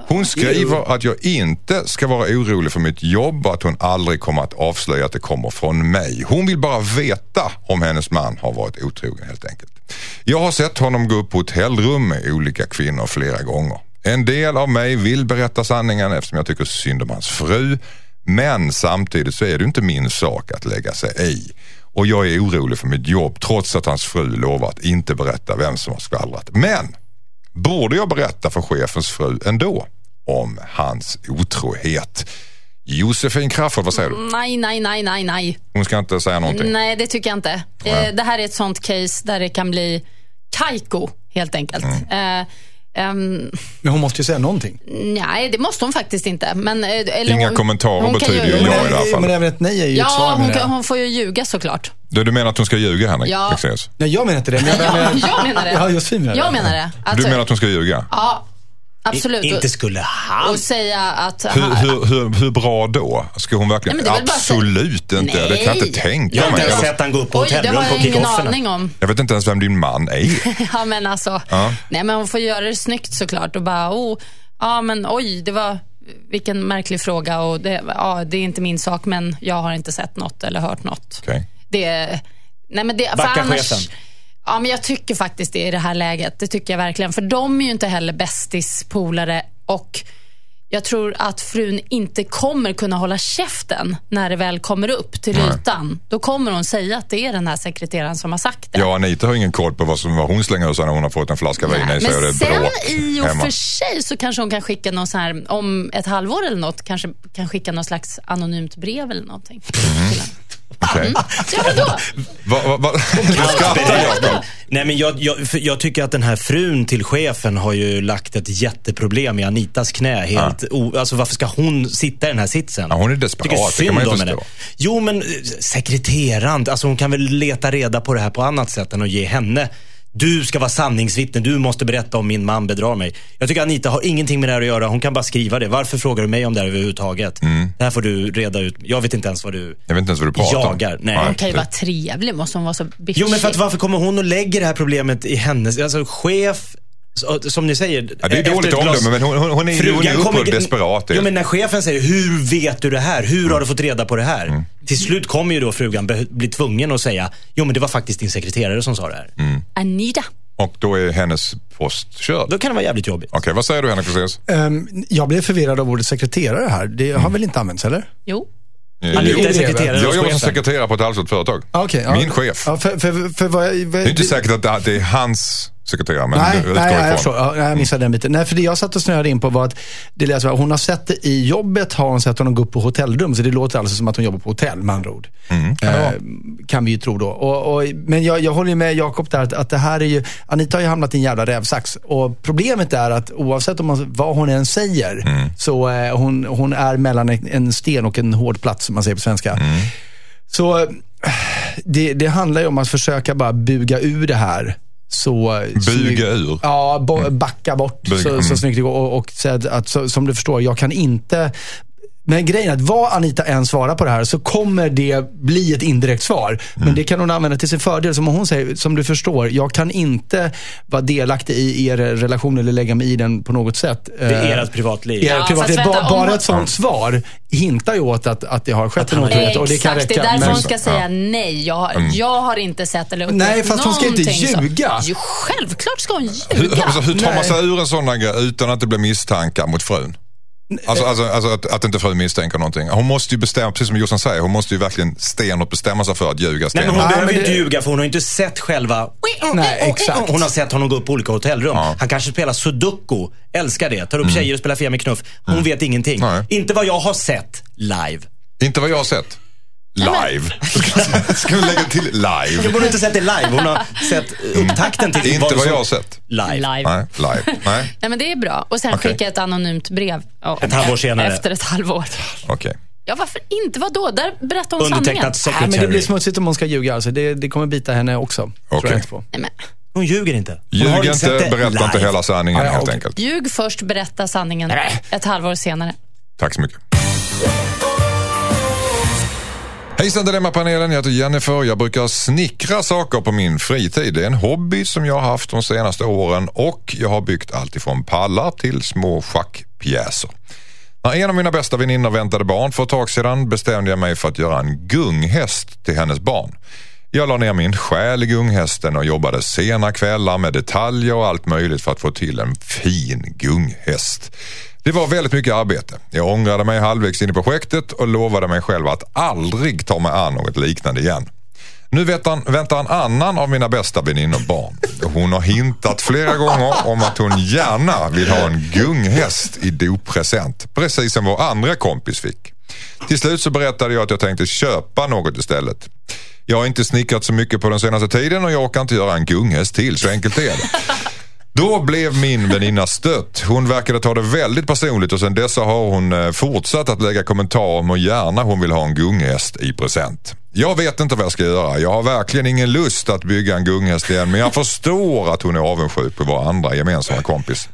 Speaker 2: Hon skriver att jag inte ska vara orolig för mitt jobb och att hon aldrig kommer att avslöja att det kommer från mig. Hon vill bara veta om hennes man har varit otrogen helt enkelt. Jag har sett honom gå upp på hotellrum med olika kvinnor flera gånger. En del av mig vill berätta sanningen eftersom jag tycker synd om hans fru. Men samtidigt så är det inte min sak att lägga sig i. Och jag är orolig för mitt jobb trots att hans fru lovar att inte berätta vem som har skvallrat. Men Borde jag berätta för chefens fru ändå om hans otrohet? Josefin Crafoord, vad säger du?
Speaker 4: Nej, nej, nej, nej, nej.
Speaker 2: Hon ska inte säga någonting.
Speaker 4: Nej, det tycker jag inte.
Speaker 2: Nej.
Speaker 4: Eh, det här är ett sånt case där det kan bli kajko, helt enkelt. Eh, ehm,
Speaker 3: Men hon måste ju säga någonting.
Speaker 4: nej, det måste hon faktiskt inte. Men, eh, eller
Speaker 2: Inga
Speaker 4: hon,
Speaker 2: kommentarer
Speaker 4: hon kan
Speaker 2: betyder
Speaker 4: ju-
Speaker 2: ju ja i det här
Speaker 3: men
Speaker 2: fallet.
Speaker 3: även ett nej är ju ett
Speaker 4: Ja,
Speaker 3: svar
Speaker 4: hon,
Speaker 3: med
Speaker 4: kan,
Speaker 3: det.
Speaker 4: hon får ju ljuga såklart.
Speaker 2: Du, du menar att hon ska ljuga, Henrik?
Speaker 4: Ja.
Speaker 2: Fexeus?
Speaker 3: Nej, jag menar inte det. Men jag menar,
Speaker 4: Jag menar det.
Speaker 3: Ja, Josefin menar det.
Speaker 4: Jag menar det.
Speaker 2: Du
Speaker 4: Alltså,
Speaker 2: menar att hon ska ljuga?
Speaker 4: Ja, absolut.
Speaker 5: I, inte skulle
Speaker 4: och,
Speaker 5: han.
Speaker 4: och säga att...
Speaker 2: Hur, hur, hur, hur bra då? Ska hon verkligen?
Speaker 4: Nej, men det är väl bara så-
Speaker 2: Absolut inte. Det kan jag inte
Speaker 4: Nej.
Speaker 2: tänka
Speaker 5: Jag har inte
Speaker 2: mig.
Speaker 5: ens
Speaker 2: Jag,
Speaker 5: sett han gå upp på
Speaker 4: Oj, det har
Speaker 5: hotellrum på
Speaker 4: jag ingen
Speaker 5: kickofferna.
Speaker 4: aning om.
Speaker 2: jag vet inte ens vem din man är.
Speaker 4: Ja, men alltså.
Speaker 2: Ja.
Speaker 4: Nej, men hon får göra det snyggt såklart och bara, oh, ja men oj, det var, vilken märklig fråga och det, ja, det är inte min sak men jag har inte sett något eller hört något.
Speaker 2: Okej.
Speaker 4: Det, nej men det,
Speaker 5: Backa
Speaker 4: för annars,
Speaker 5: chefen.
Speaker 4: Ja, men jag tycker faktiskt det i det här läget. Det tycker jag verkligen. För de är ju inte heller bästispolare och jag tror att frun inte kommer kunna hålla käften när det väl kommer upp till
Speaker 2: Nej.
Speaker 4: ytan. Då kommer hon säga att det är den här sekreteraren som har sagt det.
Speaker 2: Ja, Anita har ingen koll på vad, som, vad hon slänger ur sig när hon har fått en flaska vin i
Speaker 4: Nej,
Speaker 2: sig och det
Speaker 4: Men
Speaker 2: är
Speaker 4: sen
Speaker 2: bråk
Speaker 4: i och
Speaker 2: hemma.
Speaker 4: för sig så kanske hon kan skicka någon så här, om ett halvår eller något, kanske kan skicka någon slags anonymt brev eller någonting. till henne.
Speaker 2: Okej.
Speaker 4: Ja, vadå?
Speaker 2: Va, va, va? Du skrattar Jakob.
Speaker 5: Nej, men jag, jag, för jag tycker att den här frun till chefen har ju lagt ett jätteproblem i Anitas knä. Helt o, alltså, varför ska hon sitta i den här sitsen?
Speaker 2: Ja, hon är desperat,
Speaker 5: Tycker
Speaker 2: det kan man
Speaker 5: synd
Speaker 2: ju
Speaker 5: om henne.
Speaker 2: förstå.
Speaker 5: Jo, men eh, sekreteraren. Alltså, hon kan väl leta reda på det här på annat sätt än att ge henne du ska vara sanningsvittne. Du måste berätta om min man bedrar mig. Jag tycker Anita har ingenting med det här att göra. Hon kan bara skriva det. Varför frågar du mig om det här överhuvudtaget? Det här får du reda ut. Jag vet inte ens vad du...
Speaker 2: Mm. Jag vet inte ens vad du pratar om.
Speaker 5: Jagar, nej.
Speaker 4: Hon kan ju
Speaker 2: det-
Speaker 4: vara trevlig, måste hon vara så bitchig?
Speaker 5: Jo, men för att varför kommer hon och lägger det här problemet i hennes... Alltså chef, så- som ni säger.
Speaker 2: Ja, det är
Speaker 5: efter
Speaker 2: dåligt
Speaker 5: ett glas-
Speaker 2: omdöme, men hon, hon, hon är, hon är
Speaker 5: Frugan
Speaker 2: upprörd
Speaker 5: kommer-
Speaker 2: och desperat. Mm.
Speaker 5: Jo, men när chefen säger hur vet du det här? Hur har du fått reda på det här? Till slut kommer ju då frugan be- bli tvungen att säga, jo men det var faktiskt din sekreterare som sa det här.
Speaker 2: Mm.
Speaker 4: Anita.
Speaker 2: Och då är hennes post körd.
Speaker 5: Då
Speaker 2: Okej,
Speaker 5: kan det vara jävligt jobbigt.
Speaker 2: vad säger du Henrik Fexeus?
Speaker 3: Ehm, jag blev förvirrad av ordet sekreterare här. Det
Speaker 2: Mm.
Speaker 3: har väl inte använts, eller?
Speaker 4: Jo.
Speaker 5: Anita
Speaker 3: det är
Speaker 5: är
Speaker 3: det.
Speaker 5: sekreterare
Speaker 2: Jag
Speaker 5: hos
Speaker 2: jobbar som
Speaker 5: chefen.
Speaker 2: sekreterare på ett halvstort företag.
Speaker 3: Ah, okej, ja.
Speaker 2: Min chef.
Speaker 3: Ja, för, för, för vad, jag- vad,
Speaker 2: Det är inte säkert att det- att det är hans sekreterare, men
Speaker 3: Nej,
Speaker 2: det utgår
Speaker 3: nej, nej, jag,
Speaker 2: ifrån.
Speaker 3: förstår. ja, nej, jag missade den biten. Nej, för det jag satt och snöade in på var att det lät så här, hon har sett det i jobbet, har hon sett honom gå upp på hotellrum. Så det låter alltså som att hon jobbar på hotell med andra ord.
Speaker 2: Mm.
Speaker 3: Eh, kan vi ju tro då. Och, och, men jag, jag håller ju med Jakob där att, att det här är ju, Anita har ju hamnat i en jävla rävsax. Och problemet är att oavsett om man, vad hon än säger,
Speaker 2: Mm.
Speaker 3: så eh, hon, hon är mellan en- en sten och en hård plats, som man säger på svenska.
Speaker 2: Mm.
Speaker 3: Så eh, det, det handlar ju om att försöka bara buga ur det här. Så, snyggt-
Speaker 2: Buga ur.
Speaker 3: Ja, bo, backa bort
Speaker 2: Buga,
Speaker 3: så,
Speaker 2: mm.
Speaker 3: så snyggt det går. Och, och säga att, att så, som du förstår, jag kan inte... Men grejen är att vad Anita än svarar på det här så kommer det bli ett indirekt svar. Men det kan hon använda till sin fördel. Som hon säger, som du förstår, jag kan inte vara delaktig i er relation eller lägga mig i den på något sätt. Eh,
Speaker 5: Det är ert privatliv.
Speaker 3: Ja,
Speaker 4: Ja,
Speaker 3: privat,
Speaker 4: fast
Speaker 3: ba-
Speaker 4: vänta, om
Speaker 3: bara
Speaker 4: hon-
Speaker 3: ett sånt svar hintar ju åt att, att det har skett en
Speaker 5: han-
Speaker 3: otrohet. Och det kan
Speaker 4: Exakt, det
Speaker 3: räcka.
Speaker 4: är därför
Speaker 3: men- Mm.
Speaker 4: hon ska säga nej. Jag, har- jag har inte sett eller upplevt
Speaker 3: Nej, fast hon ska inte
Speaker 4: någonting så.
Speaker 3: ljuga.
Speaker 4: Jo, självklart ska hon ljuga.
Speaker 2: Hur, alltså, hur tar man
Speaker 3: Nej.
Speaker 2: sig ur en sån här grej utan att det blir misstankar mot frun? Alltså, alltså, alltså att, att inte frun misstänker någonting. Hon måste ju bestämma, precis som Jossan säger, hon måste ju verkligen stenhårt bestämma sig för att ljuga
Speaker 5: Nej, men
Speaker 2: stenhårt.
Speaker 5: hon
Speaker 3: Nej,
Speaker 5: behöver
Speaker 3: men
Speaker 5: ju inte
Speaker 3: det-
Speaker 5: ljuga för hon har ju inte sett själva...
Speaker 3: Nej, exakt.
Speaker 5: Hon har sett honom gå upp på olika hotellrum.
Speaker 2: Ja. Mm.
Speaker 5: Han kanske spelar sudoku, älskar det, tar upp tjejer och spelar Fia med knuff. Hon vet ingenting.
Speaker 2: Nej.
Speaker 5: Inte vad jag har sett live.
Speaker 2: Inte vad jag har sett. Live. Ska vi lägga till live?
Speaker 5: Hon har inte sett det live. Hon har sett upptakten till
Speaker 2: Inte vad
Speaker 5: som-
Speaker 2: jag har sett.
Speaker 5: Mm. Live.
Speaker 4: Live.
Speaker 2: Nej, live. Nej,
Speaker 4: Nej, men det är bra. Och sen
Speaker 2: Okej.
Speaker 4: skicka ett anonymt brev. Ja,
Speaker 5: Ett halvår senare.
Speaker 4: Efter ett halvår.
Speaker 2: okej.
Speaker 4: Ja, varför inte? Vadå? Där berättar hon sanningen.
Speaker 5: Undertecknat
Speaker 3: Nej, men det blir
Speaker 5: secretary.
Speaker 3: smutsigt om hon ska ljuga. Alltså. Det, det kommer bita henne också. Tror
Speaker 2: Okej.
Speaker 3: jag inte på.
Speaker 4: Nej, men,
Speaker 5: Hon ljuger inte. Hon har
Speaker 2: Ljug
Speaker 5: sett
Speaker 2: inte,
Speaker 5: det
Speaker 2: berätta inte
Speaker 5: live.
Speaker 2: hela sanningen
Speaker 3: Ja, ja,
Speaker 2: helt
Speaker 3: okej.
Speaker 2: enkelt.
Speaker 4: ljug först, berätta sanningen ett halvår senare.
Speaker 2: Tack så mycket. Hejsan Dilemmapanelen, jag heter Jennifer. Jag brukar snickra saker på min fritid. Det är en hobby som jag har haft de senaste åren och jag har byggt allt ifrån pallar till små schackpjäser. När en av mina bästa väninnor väntade barn för ett tag sedan bestämde jag mig för att göra en gunghäst till hennes barn. Jag la ner min själ i gunghästen och jobbade sena kvällar med detaljer och allt möjligt för att få till en fin gunghäst. Det var väldigt mycket arbete. Jag ångrade mig halvvägs in i projektet och lovade mig själv att aldrig ta mig an något liknande igen. Nu väntar, väntar en annan av mina bästa väninnor barn. Hon har hintat flera gånger om att hon gärna vill ha en gunghäst i doppresent. Precis som vår andra kompis fick. Till slut så berättade jag att jag tänkte köpa något istället. Jag har inte snickrat så mycket på den senaste tiden och jag orkar inte göra en gunghäst till, så enkelt är det. Då blev min väninna stött. Hon verkade ta det väldigt personligt och sen dess har hon eh, fortsatt att lägga kommentarer om hur gärna hon vill ha en gunghäst i present. Jag vet inte vad jag ska göra. Jag har verkligen ingen lust att bygga en gunghäst igen men jag förstår att hon är avundsjuk på vår andra gemensamma kompis.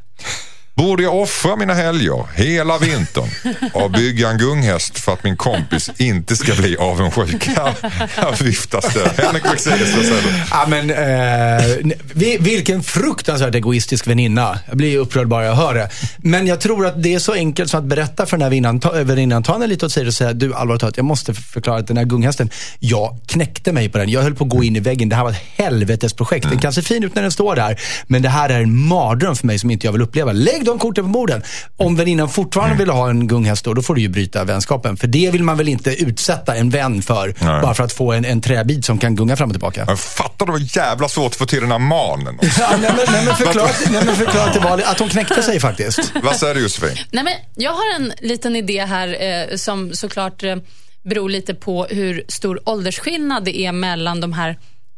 Speaker 2: Borde jag offra mina helger hela vintern och bygga en gunghäst för att min kompis inte ska bli avundsjuk? Här här viftas det. Henrik Lexeus, vad säger du?
Speaker 3: Ja, men, eh, ne- vi- vilken fruktansvärt egoistisk väninna. Jag blir ju upprörd bara jag hör det. Men jag tror att det är så enkelt som att berätta för den här väninnan, ta, eh, väninnan ta henne lite åt sidan och säga, du allvarligt talat, jag måste förklara att den här gunghästen, jag knäckte mig på den. Jag höll på att gå in i väggen. Det här var ett helvetesprojekt. Den kan se fin ut när den står där, men det här är en mardröm för mig som inte jag vill uppleva. Lägg då de korten på borden. Om väninnan fortfarande vill ha en gunghäst då, då får du ju bryta vänskapen. För det vill man väl inte utsätta en vän för,
Speaker 2: Nej.
Speaker 3: bara för att få en, en träbit som kan gunga fram och tillbaka.
Speaker 2: Men fattar du vad jävla svårt att få till den här manen?
Speaker 3: Ja, nej, men, nej, men förklara, nej, men förklara till Vali att hon knäckte sig faktiskt.
Speaker 2: vad säger du Josefin?
Speaker 4: Nej, men jag har en liten idé här eh, som såklart eh, beror lite på hur stor åldersskillnad det är mellan de här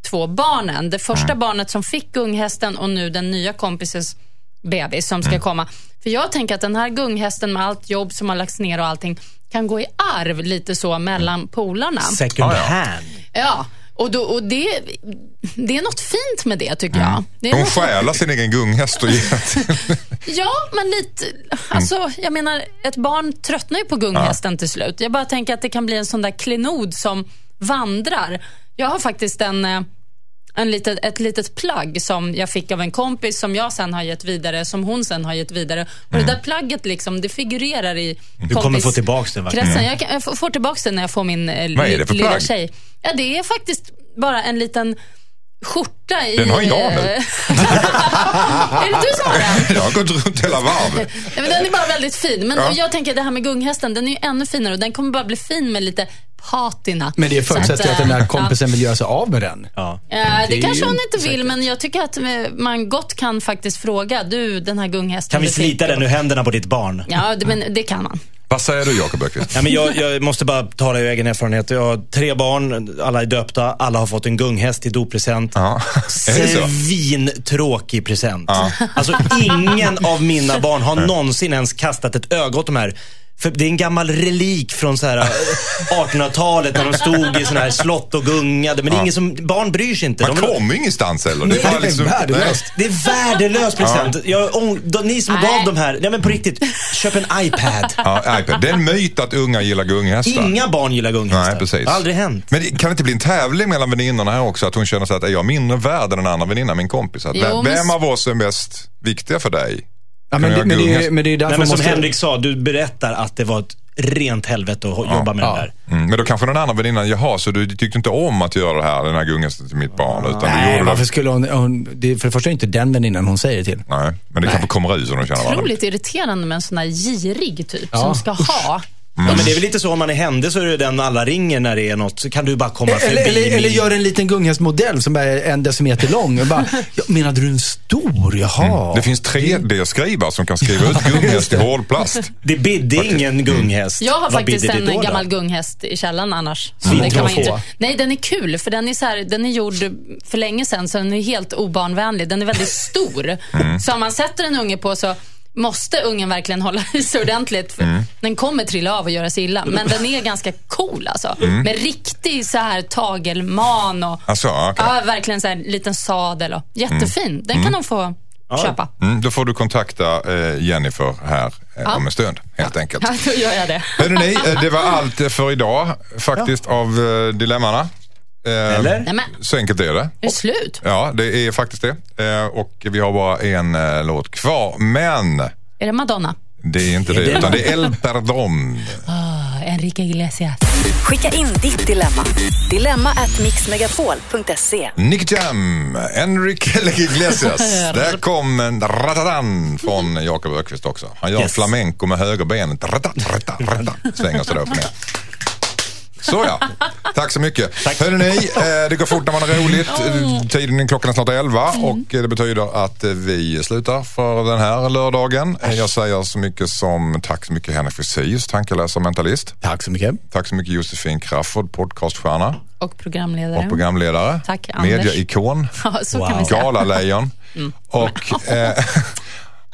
Speaker 4: två barnen. Det första barnet som fick gunghästen och nu den nya kompisens bebis som ska komma. För jag tänker att den här gunghästen med allt jobb som har lagts ner och allting kan gå i arv lite så mellan polarna.
Speaker 5: Second
Speaker 2: Ah, ja.
Speaker 5: hand.
Speaker 4: Ja, och, då, och det, det är något fint med det tycker jag. Det är
Speaker 2: Hon
Speaker 4: något-
Speaker 2: stjälar sin egen gunghäst och ger till...
Speaker 4: Ja, men lite... Alltså, jag menar, ett barn tröttnar ju på gunghästen till slut. Jag bara tänker att det kan bli en sån där klenod som vandrar. Jag har faktiskt en, eh, en litet, ett litet plagg som jag fick av en kompis som jag sen har gett vidare, som hon sen har gett vidare. Och
Speaker 2: Mm.
Speaker 4: det där plagget liksom, det figurerar i Du
Speaker 5: kommer få tillbaks det, va?
Speaker 4: Jag, kan, jag får- får tillbaka det när jag får min eh,
Speaker 2: Mm. Vad är det för
Speaker 4: lilla
Speaker 2: plagg?
Speaker 4: tjej. Ja, det är faktiskt bara en liten skjorta i...
Speaker 2: Den har jag nu.
Speaker 4: är det du som har den?
Speaker 2: Jag har gått runt hela varvet.
Speaker 4: Nej, men den är bara väldigt fin. Men
Speaker 2: Ja.
Speaker 4: och jag tänker det här med gunghästen, den är ju ännu finare och den kommer bara bli fin med lite patina.
Speaker 3: Men det
Speaker 4: Så
Speaker 3: förutsätter att
Speaker 4: eh,
Speaker 3: den där kompisen vill göra sig av med den.
Speaker 5: Ja.
Speaker 4: Ja. Eh,
Speaker 3: Det är
Speaker 4: det kanske
Speaker 3: ju
Speaker 4: hon inte vill, men jag tycker att eh, man gott kan faktiskt fråga. Du, den här gunghästen.
Speaker 5: Kan vi
Speaker 4: du fick-
Speaker 5: slita den ur händerna på ditt barn?
Speaker 4: Ja, det, men det kan man.
Speaker 2: Vad säger du Jakob Öqvist?
Speaker 5: Ja, men jag, jag måste bara tala ur egen erfarenhet. Jag har tre barn, alla är döpta, alla har fått en gunghäst i doppresent.
Speaker 2: Ja, är det så?
Speaker 5: Svintråkig present. Alltså ingen av mina barn har någonsin ens kastat ett öga åt de här för det är en gammal relik från så här eh, 1800-talet när de stod i såna här slott och gungade. Men det är ingen som, barn bryr sig inte.
Speaker 2: Man
Speaker 5: De vill-
Speaker 2: kommer ju ingenstans heller. Det är bara
Speaker 3: Nej,
Speaker 2: liksom...
Speaker 3: värdelöst.
Speaker 5: det är värdelös present. Jag, ång- de, ni som
Speaker 4: Nej.
Speaker 5: gav de här, nej men på riktigt, köp en iPad.
Speaker 2: Ja, iPad. Det är en myt att unga gillar gunghästar.
Speaker 5: Inga barn gillar gunghästar.
Speaker 2: Nej, precis.
Speaker 5: Det har aldrig hänt.
Speaker 2: Men det- kan det inte bli en tävling mellan väninnorna här också? Att hon känner sig att är jag mindre värd än en annan väninna, min kompis? Att
Speaker 4: Jo,
Speaker 2: vem,
Speaker 4: men-
Speaker 2: vem av oss är mest viktiga för dig?
Speaker 3: Ja,
Speaker 2: Kan
Speaker 3: men,
Speaker 2: jag
Speaker 3: det, men, det, är
Speaker 2: gunga?
Speaker 3: ju- men det är ju därför
Speaker 5: Nej, men som
Speaker 3: Alltså, måste...
Speaker 5: Henrik sa, du berättar att det var ett rent helvete att ho- jobba med
Speaker 3: ja.
Speaker 5: det där.
Speaker 2: Mm, men då kanske den andra väninnan, jaha, så du tyckte inte om att göra det här, den här gunghästen till mitt barn? Utan du
Speaker 3: Nej,
Speaker 2: gjorde
Speaker 3: varför
Speaker 2: det.
Speaker 3: skulle hon, hon det, För det första är det inte den väninnan hon säger det till.
Speaker 2: Nej, men det kanske kommer ut som de känner varandra.
Speaker 4: Otroligt irriterande med en sån där girig typ
Speaker 3: Ja.
Speaker 4: som ska ha.
Speaker 2: Mm.
Speaker 5: Ja, men det är väl lite så om man är hände så är det den alla ringer när det är något. Så kan du bara komma förbi.
Speaker 3: Eh, Eller, eller, eller
Speaker 5: min-
Speaker 3: gör en liten gunghästmodell som är en decimeter lång. Och bara, ja, menade du en stor? Jaha.
Speaker 2: Mm. Det finns 3D-skrivare som kan skriva ut gunghäst i hårdplast.
Speaker 5: Det bidde
Speaker 2: Mm.
Speaker 5: ingen gunghäst.
Speaker 4: Jag har
Speaker 5: Vad
Speaker 4: faktiskt
Speaker 5: bidde det
Speaker 4: en
Speaker 5: då, då?
Speaker 4: gammal gunghäst i källaren annars. Så
Speaker 5: Mm.
Speaker 4: det kan man
Speaker 5: Svintråkig.
Speaker 4: inte... Nej, den är kul för den är, så här, den är gjord för länge sedan så den är helt obarnvänlig. Den är väldigt stor.
Speaker 5: Mm.
Speaker 4: Så om man sätter en unge på så måste ungen verkligen hålla i sig ordentligt. För
Speaker 5: Mm.
Speaker 4: Den kommer trilla av och göra sig illa. Men den är ganska cool alltså.
Speaker 5: Mm.
Speaker 4: Med riktig så här tagelman och
Speaker 2: Alltså, ja, okej.
Speaker 4: ja, verkligen så här liten sadel. Och,
Speaker 5: Mm.
Speaker 4: jättefin. Den kan de få köpa.
Speaker 2: Mm, då får du kontakta eh, Jennifer här eh, om en stund, helt enkelt.
Speaker 4: Ja, då gör jag det.
Speaker 2: Hörrni, eh, det var allt eh, för idag faktiskt av eh, Dilemmana.
Speaker 5: Eller?
Speaker 4: Nej, men,
Speaker 2: Så enkelt är det.
Speaker 4: är det slut?
Speaker 2: Ja, det är faktiskt det. Eh, Och vi har bara en eh, låt kvar. Men
Speaker 4: Är det Madonna?
Speaker 2: det är inte
Speaker 5: Är
Speaker 2: det,
Speaker 5: det-
Speaker 2: utan det är El Perdón.
Speaker 4: Ah, Enrique Iglesias.
Speaker 1: Skicka in ditt dilemma. Dilemma at mixmegapol.se.
Speaker 2: Nick Jam, Enrique Iglesias. Där kom en ratatan från Jakob Ökvist också. Han gör
Speaker 5: Yes.
Speaker 2: flamenco med högerbenet. Ratat, ratat, ratat. Svänger sig där upp och ner. Så ja, tack så mycket.
Speaker 5: Tack.
Speaker 2: Hörrni, eh, det går fort när man har roligt. Eh, Tiden, klockan är snart 11 och eh, det betyder att eh, vi slutar för den här lördagen. Eh, Jag säger så mycket som tack så mycket Henrik Fexeus, tankeläsare och mentalist.
Speaker 3: Tack så mycket.
Speaker 2: Tack så mycket Josefin Crafoord, podcaststjärna
Speaker 4: Och programledare.
Speaker 2: och programledare.
Speaker 4: Tack, Anders.
Speaker 2: Mediaikon.
Speaker 4: Ja, så kan
Speaker 5: Wow.
Speaker 4: vi Mm. säga.
Speaker 2: Galalejon. Och, eh,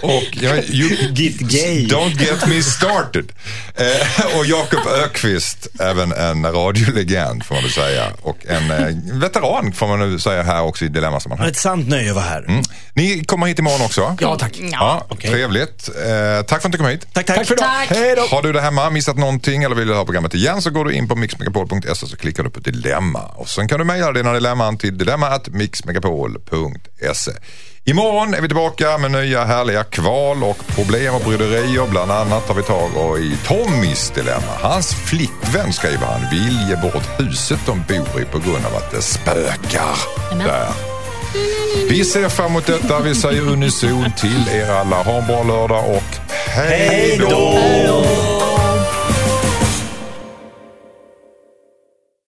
Speaker 2: och jag, you,
Speaker 5: Get gay.
Speaker 2: Don't get me started. Eh, och Jakob Ökvist, även en radiolegend får man väl säga. Och en eh, veteran får man nu säga här också i
Speaker 5: Det var
Speaker 2: Dilemmasammanhang.
Speaker 5: Ett sant nöje att vara här.
Speaker 2: Mm. Ni kommer hit imorgon också.
Speaker 3: Ja, tack.
Speaker 2: Ja,
Speaker 5: okej.
Speaker 2: Trevligt. Eh, tack för att ni kom hit.
Speaker 5: Tack, tack.
Speaker 3: Tack för idag.
Speaker 4: Tack.
Speaker 3: Hej då.
Speaker 2: Har du det hemma, missat någonting eller vill du ha programmet igen så går du in på mixmegapol.se så klickar du på dilemma. Och sen kan du mejla dina dilemman till dilemma.mixmegapol.se. Imorgon är vi tillbaka med nya härliga kval och problem och bryderier. Bland annat tar vi tag och i Tommys dilemma. Hans flickvän skriver han vill ge bort huset de bor i på grund av att det spökar
Speaker 4: Amen.
Speaker 2: där. Vi ser fram emot detta. Vi säger unison till er alla. Ha en bra lördag och hej då!
Speaker 5: Hej då!